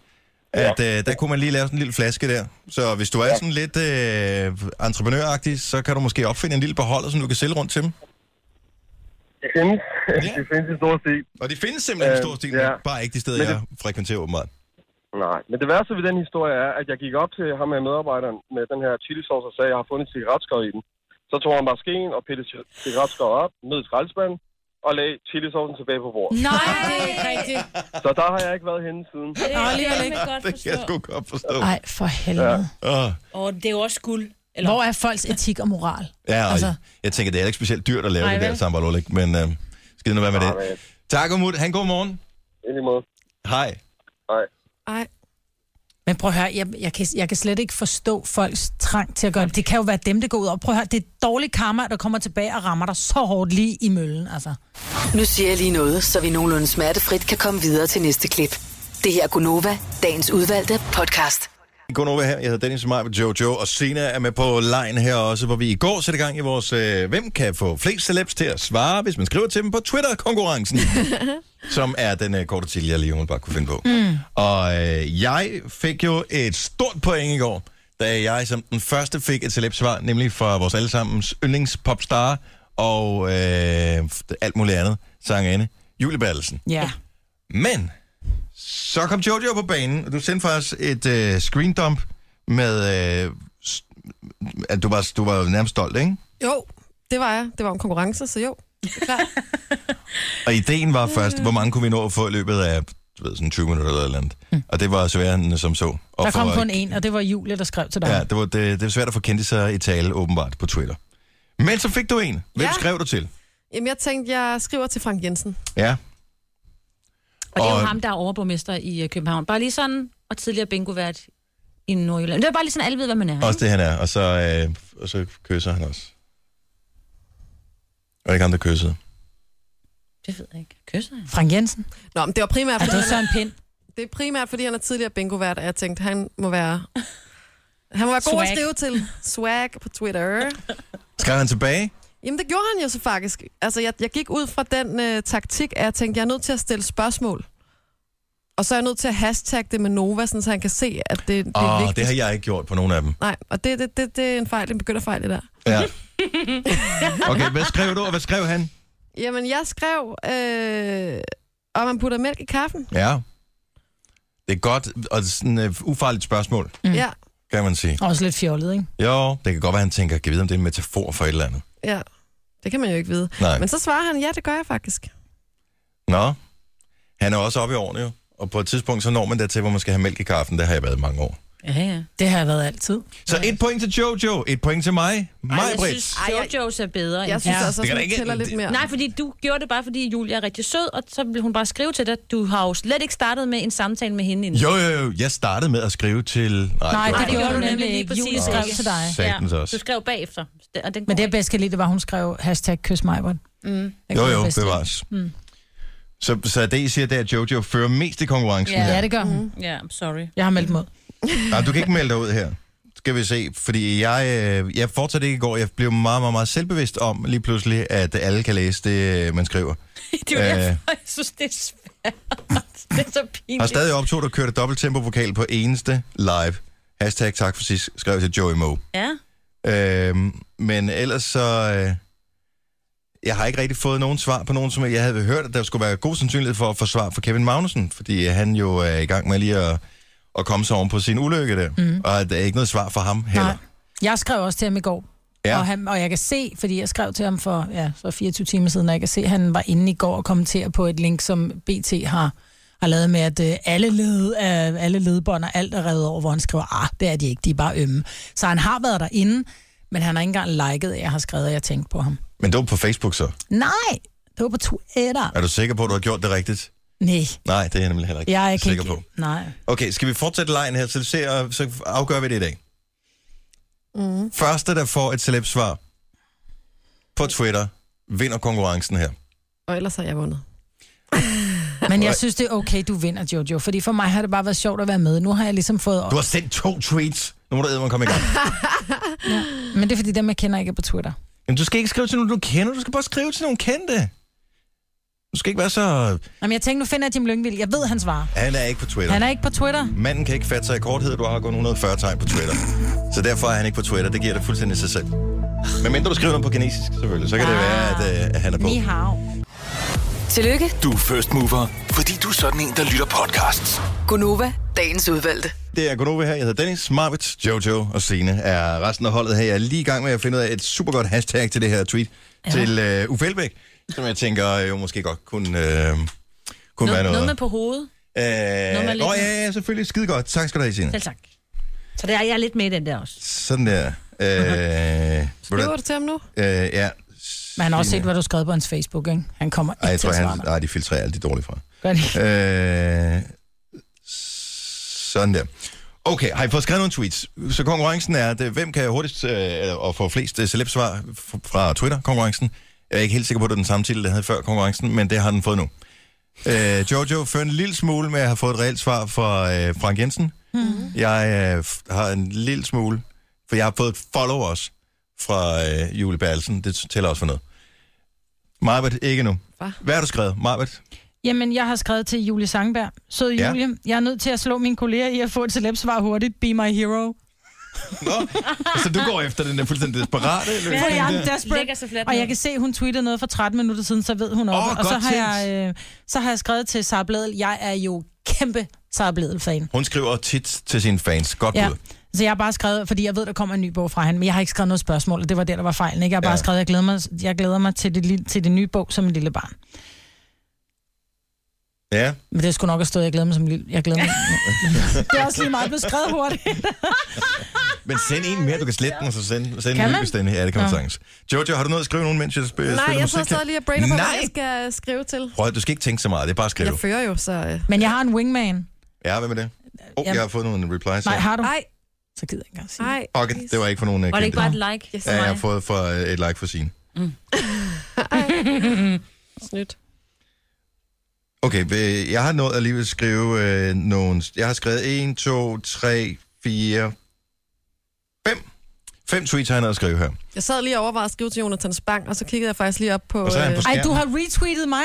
At øh, der kunne man lige lave sådan en lille flaske der. Så hvis du er sådan lidt øh, entreprenøragtig, så kan du måske opfinde en lille beholder, som du kan sælge rundt til dem. Det findes. Det findes i stor stil. Og det findes simpelthen øh, i stor stil, ja. ja. bare ikke de steder, Men det- jeg frekventerer åbenbart. Nej, men det værste ved den historie er, at jeg gik op til ham med medarbejderen med den her chili sauce og sagde, at jeg har fundet cigaretskår i den. Så tog han bare skeen og pillede ci- cigaretskår op, ned i skraldespanden og lagde chili saucen tilbage på bordet. Nej, det er ikke rigtigt. Så der har jeg ikke været henne siden. Det Nå, er alligevel alligevel ikke. godt Det kan jeg forstå. sgu godt forstå. Nej, for helvede. Åh. Og det er jo også guld. Eller, Hvor er folks etik og moral? Ja, og Altså- altså. jeg tænker, det er ikke specielt dyrt at lave Nej, Nej, det der vel? sambal oleg, men øh, skal det nu være med det. Nej, men- Tak, Umut. Han god morgen. Ind imod. Hej. Nej. Ej, Men prøv at høre, jeg, jeg, kan, jeg kan slet ikke forstå folks trang til at gøre det. Det kan jo være dem, det går ud over. Prøv at høre, det er dårlig karma, der kommer tilbage og rammer dig så hårdt lige i møllen, altså. Nu siger jeg lige noget, så vi nogenlunde smertefrit kan komme videre til næste klip. Det her er Gunova, dagens udvalgte podcast. Kun over her. Jeg hedder Dennis Maj med Jojo, og Sina er med på line her også, hvor vi i går sætte gang i vores, øh, hvem kan få flest celebs til at svare, hvis man skriver til dem på Twitter-konkurrencen, som er den øh, korte til, jeg lige umiddelbart kunne finde på. Hmm. Mm. Og øh, jeg fik jo et stort point i går, da jeg som den første fik et celebsvar, nemlig fra vores allesammens yndlingspopstar og øh, alt muligt andet, sangerinde, Julie Bertelsen. Ja. Men så kom Jojo på banen, og du sendte faktisk et øh, screendump med... Øh, s- at du var, du var jo nærmest stolt, ikke? jo, det var jeg. Det var en konkurrence, så jo. Det er klart. Og ideen var først, hvor mange kunne vi nå at få i løbet af du ved, sådan 20 minutter eller et eller andet. Mm. Og det var sværere end som så. Og Der kom for- kun en, og det var Julie, der skrev til dig. Ja, det var, det, det var svært at få kendte sig i tale, åbenbart, på Twitter. Men så fik du en. Hvem Ja. skrev du til? Jamen, jeg tænkte, jeg skriver til Frank Jensen. Ja. og det er jo og- ham, der er overborgmester i øh, København. Bare lige sådan, og tidligere bingovært i Nordjylland. Det er bare lige sådan, alle ved, hvad man er. Også det, han er. Og så, øh, og så kysser han også. Og ikke ham, der kyssede. ikke? Det ved jeg ikke. Kysser jeg? Frank Jensen. Nå, men det var primært, Er fordi, det så en pind? det er primært, fordi han er tidligere bingovært, og jeg tænkte, han må være... Han må være god at Swag. skrive til. Swag på Twitter. Skrev han tilbage? Jamen, det gjorde han jo så faktisk. Altså, jeg, jeg gik ud fra den øh, taktik, at jeg tænkte, jeg er nødt til at stille spørgsmål. Og så er jeg nødt til at hashtagge det med Nova, sådan, så han kan se, at det, det er Åh, vigtigt. det har jeg ikke gjort på nogen af dem. Nej, og det, det, det, det er en fejl, en begynderfejl, det der. Ja. Okay, hvad skrev du, og hvad skrev han? Jamen, jeg skrev, øh, om man putter mælk i kaffen. Ja. Det er godt, og det er sådan et uh, ufarligt spørgsmål, Mm. Ja, kan man sige. Også lidt fjollet, ikke? Jo, det kan godt være, han tænker, kan jeg vide, om det er en metafor for et eller andet. ja. Det kan man jo ikke vide. Nej. Men så svarer han, ja, det gør jeg faktisk. Nå, han er også oppe i årene jo. Og på et tidspunkt, så når man dertil, hvor man skal have mælk i kaffen. Det har jeg været i mange år. Ja, ja. Det har jeg været altid. Så et point til Jojo, et point til mig. Mig, Ej, jeg synes, Brits. Ej, jeg- Jojo's er bedre end Jeg synes Ja. altså, Det kan da at ikke- tæller lidt det- mere. Nej, fordi du gjorde det bare, fordi Julia er rigtig sød, og så ville hun bare skrive til dig. Du har jo slet ikke startet med en samtale med hende endnu. Jo, jo, jo. Jeg startede med at skrive til... Nej, var- det gjorde du nemlig lige ikke. præcis Julie skrev ikke. til dig. Satans også. Du skrev bagefter. Det- Og den Men det, jeg går bedst kan lide, det var, at hun skrev hashtag kys mig, mm. Jo, jo, bevares. Mm. Så, så det, I siger, det er, at Jojo fører mest i konkurrencen her. Ja, det gør hun. Mm. ikke. Ja, I'm sorry. Jeg har meldt mod. Nej, du kan ikke melde dig ud her. Skal vi se, fordi jeg, øh, jeg fortsatte ikke i går. Jeg blev meget, meget, meget selvbevidst om lige pludselig, at alle kan læse det, øh, man skriver. Det er jo Øh. derfor, jeg synes, det er svært. Det er så pinligt. Har stadig optog, der kørte dobbelt tempo-vokal på eneste live. Hashtag tak for sidst, skrev jeg til Joey Moe. Ja. Øhm, men ellers så... Øh, jeg har ikke rigtig fået nogen svar på nogen, som jeg havde hørt, at der skulle være god sandsynlighed for at få svar fra Kevin Magnussen, fordi øh, han jo er i gang med lige at, at komme sig oven på sin ulykke der. Mm. Og der er ikke noget svar fra ham heller. Nej. Jeg skrev også til ham i går. Ja. Ja. Og, han, og jeg kan se, fordi jeg skrev til ham for, ja, for 24 timer siden, og jeg kan se, at han var inde i går og kommenterede på et link, som BT har, har lavet med, at øh, alle, led, øh, alle ledbånd og alt er revet over, hvor han skriver, ah, det er de ikke, de er bare ømme. Så han har været derinde, men han har ikke engang liket, at jeg har skrevet, at jeg tænkte på ham. Men det var på Facebook så. Nej, det var på Twitter. Er du sikker på, at du har gjort det rigtigt? Nej, Nej, det er jeg nemlig heller ikke jeg er ikke sikker ikke. på. Nej. Okay, skal vi fortsætte lejen her, så, se, og så afgør vi det i dag. Mm. Første, der får et celebsvar på Twitter, vinder konkurrencen her. Og ellers har jeg vundet. Men jeg synes, det er okay, du vinder, Jojo, fordi for mig har det bare været sjovt at være med. Nu har jeg ligesom fået... Du har sendt to tweets. Nu må du æde, komme i gang. Men det er fordi, dem jeg kender ikke er på Twitter. Jamen, du skal ikke skrive til nogen, du kender. Du skal bare skrive til nogen kendte. Du skal ikke være så... Jamen, jeg tænkte, nu finder jeg Jim Lyngvild. Jeg ved, han svarer. Han er ikke på Twitter. Han er ikke på Twitter. Manden kan ikke fatte sig i korthed, du har kun 140 tegn på Twitter. Så derfor er han ikke på Twitter. Det giver det fuldstændig sig selv. Men mindre du skriver noget på kinesisk, selvfølgelig, så kan det være, at, øh, at han er på. Ni hao. Tillykke, Du er first mover, fordi du er sådan en, der lytter podcasts. Gunova, dagens udvalgte. Det er Gunova her. Jeg hedder Dennis, Marvits, Jojo og Sine er resten af holdet her. Jeg er lige i gang med at finde ud af et super godt hashtag til det her tweet. Ja. Til øh, Uffe Elbæk, som jeg tænker øh, jo måske godt kunne, øh, kunne være Noget, noget. noget med på hovedet. noget med Øh, lidt- Nå ja, ja, selvfølgelig. Skide godt. Tak skal du have, Signe. Selv tak. Så det er, jeg er lidt med i den der også. Sådan der. Øh, ved du Skriver hvad? du til ham nu? øh, ja. Men han har også set, hvad du skrev på hans Facebook, ikke? Han kommer ikke Ej, jeg til tror, at svare han, mig. nej, de filtrerer alt det dårlige fra. Gør det ikke? Øh, sådan der. Okay, har I fået skrevet nogle tweets? Så konkurrencen er, at, øh, hvem kan hurtigst øh, eller- og få flest øh, celebsvar f- fra Twitter-konkurrencen? Jeg er ikke helt sikker på, at det er den samme titel, der havde før konkurrencen, men det har den fået nu. Øh, Jojo, før en lille smule med at have fået et reelt svar fra øh, Frank Jensen. Mhm. Mm-hmm. Jeg øh, f- har en lille smule, for jeg har fået et follow også fra øh, Julie Berlsen. Det tæller også for noget. Marbet, ikke nu. Hva? Hvad har du skrevet? Marbet? Jamen, jeg har skrevet til Julie Sangberg. Sød Ja. Julie, jeg er nødt til at slå mine kolleger i at få et celebsvar hurtigt. Be my hero. Nå, så Altså, du går efter den der fuldstændig desperate løsning For jeg er der. desperate. Lægger sig fladt Og ned. jeg kan se, at hun tweetede noget for 13 minutter siden, så ved hun også. Åh, og så godt har, jeg, øh, så har jeg skrevet til Sara Bledel, jeg er jo kæmpe Sara Bledel-fan. Hun skriver tit til sine fans. Godt Ja. ja. bud. Så jeg har bare skrevet, fordi jeg ved, der kommer en ny bog fra han, men jeg har ikke skrevet noget spørgsmål, og det var der, der var fejlen. Ikke? Jeg har bare Ja. ja. skrevet, jeg glæder mig, jeg glæder mig til, det, lille- til det nye bog som en lille barn. Ja. Men det skulle nok have stået, jeg glæder mig som en lille... Jeg glæder mig. det er også lige meget blevet skrevet hurtigt. Men send en mere. Du kan slette den, og så send, send Kan en ny man? bestændig. Ja, det kan man Nå. sagtens. Jojo, har du noget at skrive nogen, mens jeg sp- spiller Nej, jeg sidder musik her? stadig lige og brainer på, hvad Nej. jeg skal øh, skrive til. Prøv at- du skal ikke tænke så meget. Det er bare at skrive. Jeg fører jo, så... øh. Men jeg har en wingman. Ja, hvad med det? Oh, Jamen. jeg har fået nogle replies. Nej, her. har du? Ej, Så gider jeg ikke engang sige det. ej. Fuck it, det var ikke for nogen. øh, Var det ikke kendte. bare et like? Yes. for Ja, jeg har mig? fået for øh, et like for sin. Snydt. Okay, øh, jeg har nået at alligevel skrive øh, nogle... Jeg har skrevet 1, 2, 3, 4, 5. Fem tweets har jeg nået at skrive her. Jeg sad lige og overvejede at skrive til Jonathan Spang, og så kiggede jeg faktisk lige op på... øh, Og så er han på Ej, du skærmen. har retweetet mig.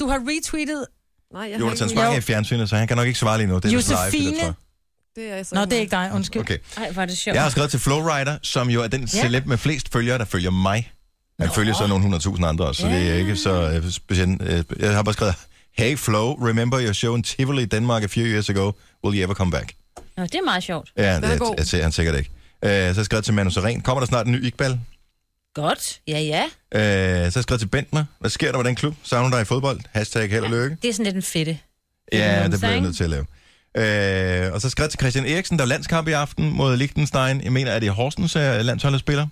Du har retweetet... nej, jeg har Jonathan ikke- Spang er Jo, i fjernsynet, så han kan nok ikke svare lige nu. Det er vist Live, det Josefine. der, tror Det er altså jeg så Nå, det er ikke dig, undskyld. jeg. Okay. Ej, hvor er det sjovt. Jeg har skrevet til Flowrider, som jo er den Ja. celeb med flest følgere, der følger mig. Han følger så nogle 100.000 andre også, så det er ikke så øh, specielt. øh, Jeg har bare skrevet, Hey Flow, remember your show in Tivoli, Denmark a few years ago. Will you ever come back? Nå, det er meget sjovt. Ja, er det god. jeg ser han sikkert ikke. Øh, Så har jeg skrevet til Manu Seren, kommer der snart en ny Iqbal? Øh, Godt. Ja, ja. Så har jeg skrevet til Bentner, hvad sker der med den klub? Savner dig i fodbold? Hashtag held og lykke. Det er sådan lidt en fedte. Ja, Mm, det bliver jeg sang. nødt til at lave. Øh, og så skrev jeg til Christian Eriksen, der er landskamp i aften mod Liechtenstein. Jeg mener, er det Horsens øh, landshold, der spiller?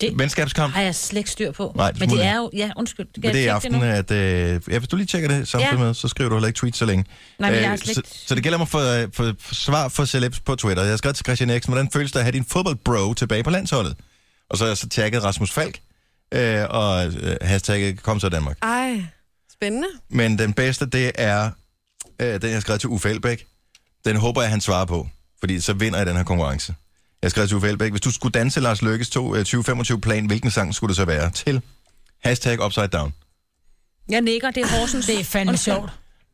Det- Venskabskamp? Har jeg slet ikke styr på. Nej, det Men det smutter. er jo... Ja, undskyld. Skal Men jeg det er i tjekke aften, nu? at... Øh, ja, hvis du lige tjekker det samtidig Ja. med, så skriver du heller ikke tweets så længe. Nej, men jeg Øh, har slet så, ikke- så det gælder mig for, øh, for, for svar for celebs på Twitter. Jeg har skrevet til Christian Eriksen, hvordan føles det at have din fodboldbro tilbage på landsholdet? Og så har jeg så tagget Rasmus Falk, øh, og øh, hashtagget kom så Danmark. Ej, spændende. Men den bedste, det er øh, den, jeg har skrevet til Uffe Elbæk. Den håber jeg, han svarer på, fordi så vinder jeg den her konkurrence. Jeg skrev til Uffe Elbæk, hvis du skulle danse Lars øh, Lykkes 2025-plan, hvilken sang skulle det så være? Til hashtag Upside Down. Jeg nikker, det er Horsens. Det er fandme sjovt.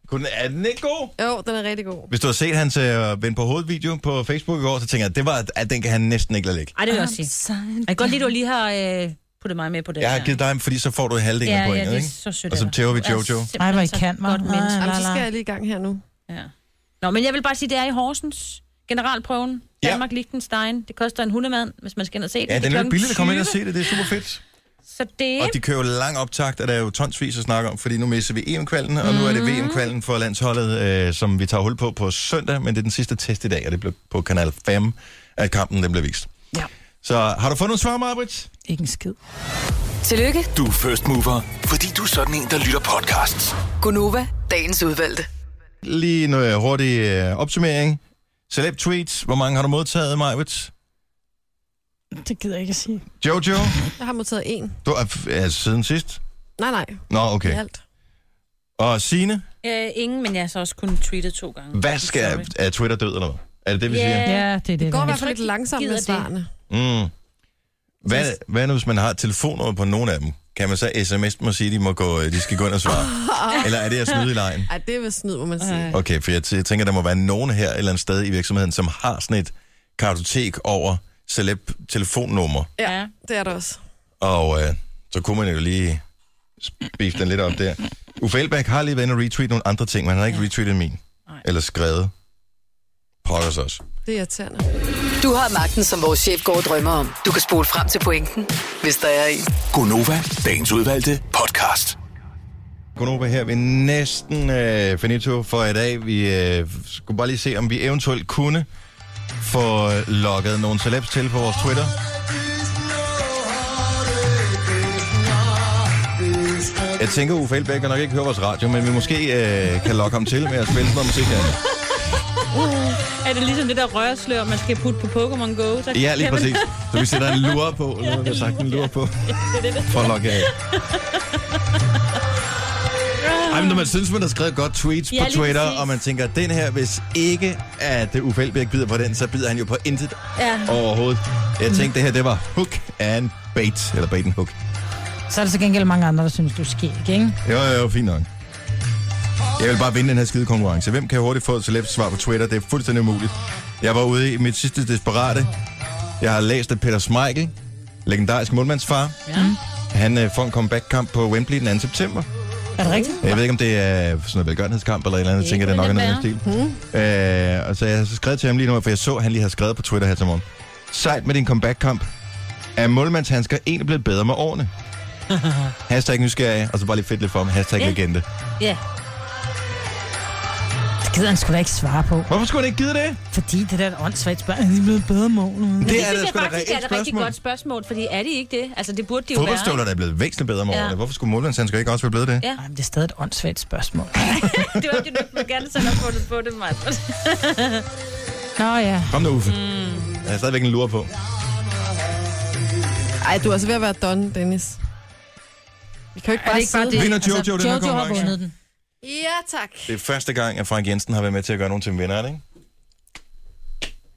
Kunne, er den ikke god? Jo, den er rigtig god. Hvis du har set hans øh, vend på hovedet video på Facebook i går, så tænker jeg, at, det var, at den kan han næsten ikke lade ligge. Ej, det vil jeg også sige. Jeg kan godt lide, at du lige har øh, puttet mig med på det Jeg her. har givet dig, fordi så får du halvdelen ja, af ja, pointet, det ikke? er så sødt. Og så af dig. tæver vi Du er Jojo. simpelthen Ej, hvor I så kan, mig. Godt menneske. Ej, Jamen, så la, la. skal jeg lige i gang her nu. Ja. Nå, men jeg vil bare sige, det er i Horsens. Generalprøven. Ja. Danmark Liechtenstein. Det koster en hundemand, hvis man skal ind og se det. Ja, Det den er lidt klokken billig at komme ind og 20, se det. Det er super fedt. Så det... Og de kører jo lang optakt, og der er jo tonsvis at snakke om, fordi nu misser vi EM-kvalden, og nu er det Mhm. VM-kvalden for landsholdet, øh, som vi tager hul på på søndag, men det er den sidste test i dag, og det blev på Kanal 5, at kampen den blev vist. Ja. Så har du fundet nogle svar, Marbrit? Ikke en skid. Tillykke, Du er first mover, fordi du er sådan en, der lytter podcasts. Gunova, dagens udvalgte. Lige en øh, hurtig øh, opsummering. Celeb tweets. Hvor mange har du modtaget, Marbrit? Det gider jeg ikke at sige. Jojo? Jeg har modtaget en. Du er ja, siden sidst? Nej, nej. Nå, Okay. okay. Alt. Og Signe, Øh, ingen, men jeg har så også kun tweetet to gange. hvad skal... Er Twitter død, eller hvad? Er det det, vi Ja. siger? Ja, det er det. Det går i der. hvert fald lidt langsomt gider med det. svarene. Mm. Hvad, hvad nu, hvis man har et telefonnummer på nogen af dem? Kan man så sms dem og sige, at de, må gå, øh, de skal gå ind og svare? Eller er det at snyde i lejen? Ej, det er vist snyd, må man sige. Okay, for jeg, t- jeg tænker, der må være nogen her et eller andet sted i virksomheden, som har sådan et kartotek over celeb-telefonnummer. Ja, det er der også. Og øh, så kunne man jo lige beef den lidt op der. Uffe Elbæk har lige været inde og retweet nogle andre ting, men han har ikke retweetet min. Nej. Eller skrevet. Pokkers også. Det er irriterende. Du har magten, som vores chef går og drømmer om. Du kan spole frem til pointen, hvis der er en. Gonova, dagens udvalgte podcast. Konoba her, vi er næsten øh, finito for i dag. Vi øh, skulle bare lige se, om vi eventuelt kunne få logget nogle celebs til på vores Twitter. Jeg tænker, Uffe Elbæk kan nok ikke høre vores radio, men vi måske øh, kan lokke ham til med at spille noget musik her. Er det ligesom det der rørslør, man skal putte på Pokémon Go? Så Ja, lige kan man- præcis. Så vi sætter en lure på, eller hvad vi har sagt, en lure på, for at lokke af. Ej, men når man synes, man har skrevet godt tweets Ja, ja, på lige Twitter, præcis. og man tænker, den her, hvis ikke at øh, Uffe Elbæk bider på den, så bider han jo på intet Ja. Mm. overhovedet. Jeg tænkte, det her, det var hook and bait, eller bait and hook. Så er der til gengæld mange andre, der synes, du er skæg, ikke? Jo, jo, jo, fint nok. Jeg vil bare vinde den her skide konkurrence. Hvem kan hurtigt få et celebs svar på Twitter? Det er fuldstændig umuligt. Jeg var ude i mit sidste desperate. Jeg har læst, at Peter Schmeichel, legendarisk målmandsfar, Ja. Mm. han øh, får en comeback-kamp på Wembley den 2. september. Er det rigtigt? Jeg ved ikke, om det er sådan noget velgørenhedskamp eller et eller andet. Jeg tænker, det er nok kunne en det anden stil. Hmm? Øh, og så jeg har skrevet til ham lige nu, for jeg så, at han lige har skrevet på Twitter her til morgen. Sejt med din comeback-kamp. Er målmandshandsker egentlig blevet bedre med årene? Hashtag nysgerrig, og så bare lige fedt lidt for ham. Hashtag Ja. legende. Ja. Det gider han sgu da ikke svare på. Hvorfor skulle han ikke give det? Fordi det der er et åndssvagt spørgsmål. De er blevet bedre mål. Det, Det, synes jeg sgu da faktisk er reelt et rigtig godt spørgsmål, fordi er det ikke det? Altså, det burde de jo være. Fodboldstøvlerne er blevet væsentligt bedre med Ja. årene. Hvorfor skulle målmandshandsker ikke også være blevet det? Ja. Ej, men det er stadig et åndssvagt spørgsmål. ikke? Det var ikke det, man gerne selv har fundet på det, mand. Nå ja. Kom nu, Uffe. Mm. Jeg har stadigvæk en lure på. Ej, du er altså ved at være done, Dennis. Vi kan jo ikke Er bare det ikke bare sidde... Vinder Jojo den her Altså, Jojo har konkurrence? vundet den. Ja, tak. Det er første gang, at Frank Jensen har været med til at gøre nogen til en vinder, er det ikke?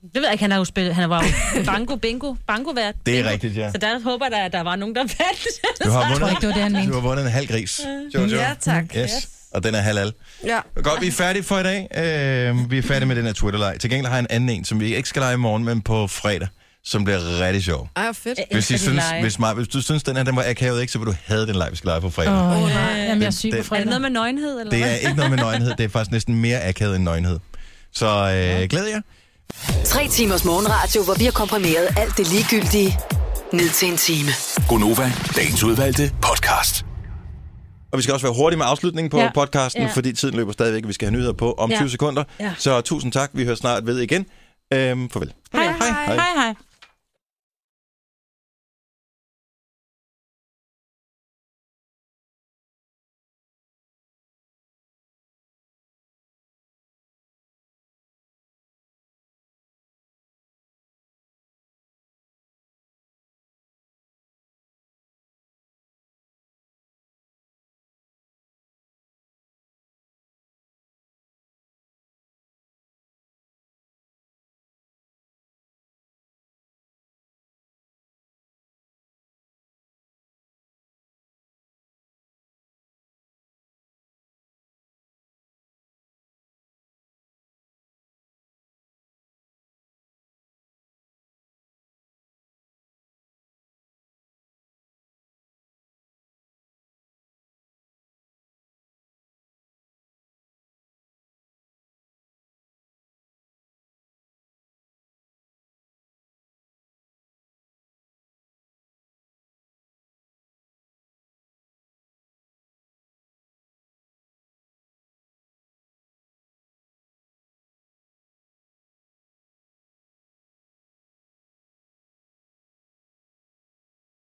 Det ved jeg ikke, han har jo spillet. Han var jo bango, bingo, bango vært. Det er rigtigt, ja. Så der håber jeg, da, at der var nogen, der vandt. Du har Jeg tror vundet, ikke, det var det, han du mente. har vundet en halv gris, Jojo. Ja, tak. Yes. Og den er halal. Ja. Godt, vi er færdige for i dag. Øh, vi er færdige med den her Twitter-leg. Til gengæld har jeg en anden en, som vi ikke skal lege i morgen, men på fredag, som bliver rigtig sjov. Ej, hvor fedt. Hvis, I Elsker de synes, lege. hvis, Maj, hvis du synes, den her den var akavet, ikke, så vil du have den live, vi skal lege på fredag. Åh, oh, nej. Jamen, jeg er det- syg på Er det fredag. noget med nøgenhed, eller Det er hvad? ikke noget med nøgenhed. Det er faktisk næsten mere akavet end nøgenhed. Så øh, glæder jeg. Tre timers morgenradio, hvor vi har komprimeret alt det ligegyldige ned til en time. Gonova, dagens udvalgte podcast. Og vi skal også være hurtige med afslutningen på ja. Ja. podcasten, ja. Ja. fordi tiden løber stadigvæk, og vi skal have nyheder på om ja. Ja. 20 sekunder. Ja. Ja. Så tusind tak. Vi hører snart ved igen. Øhm, farvel. Hej, hej. hej.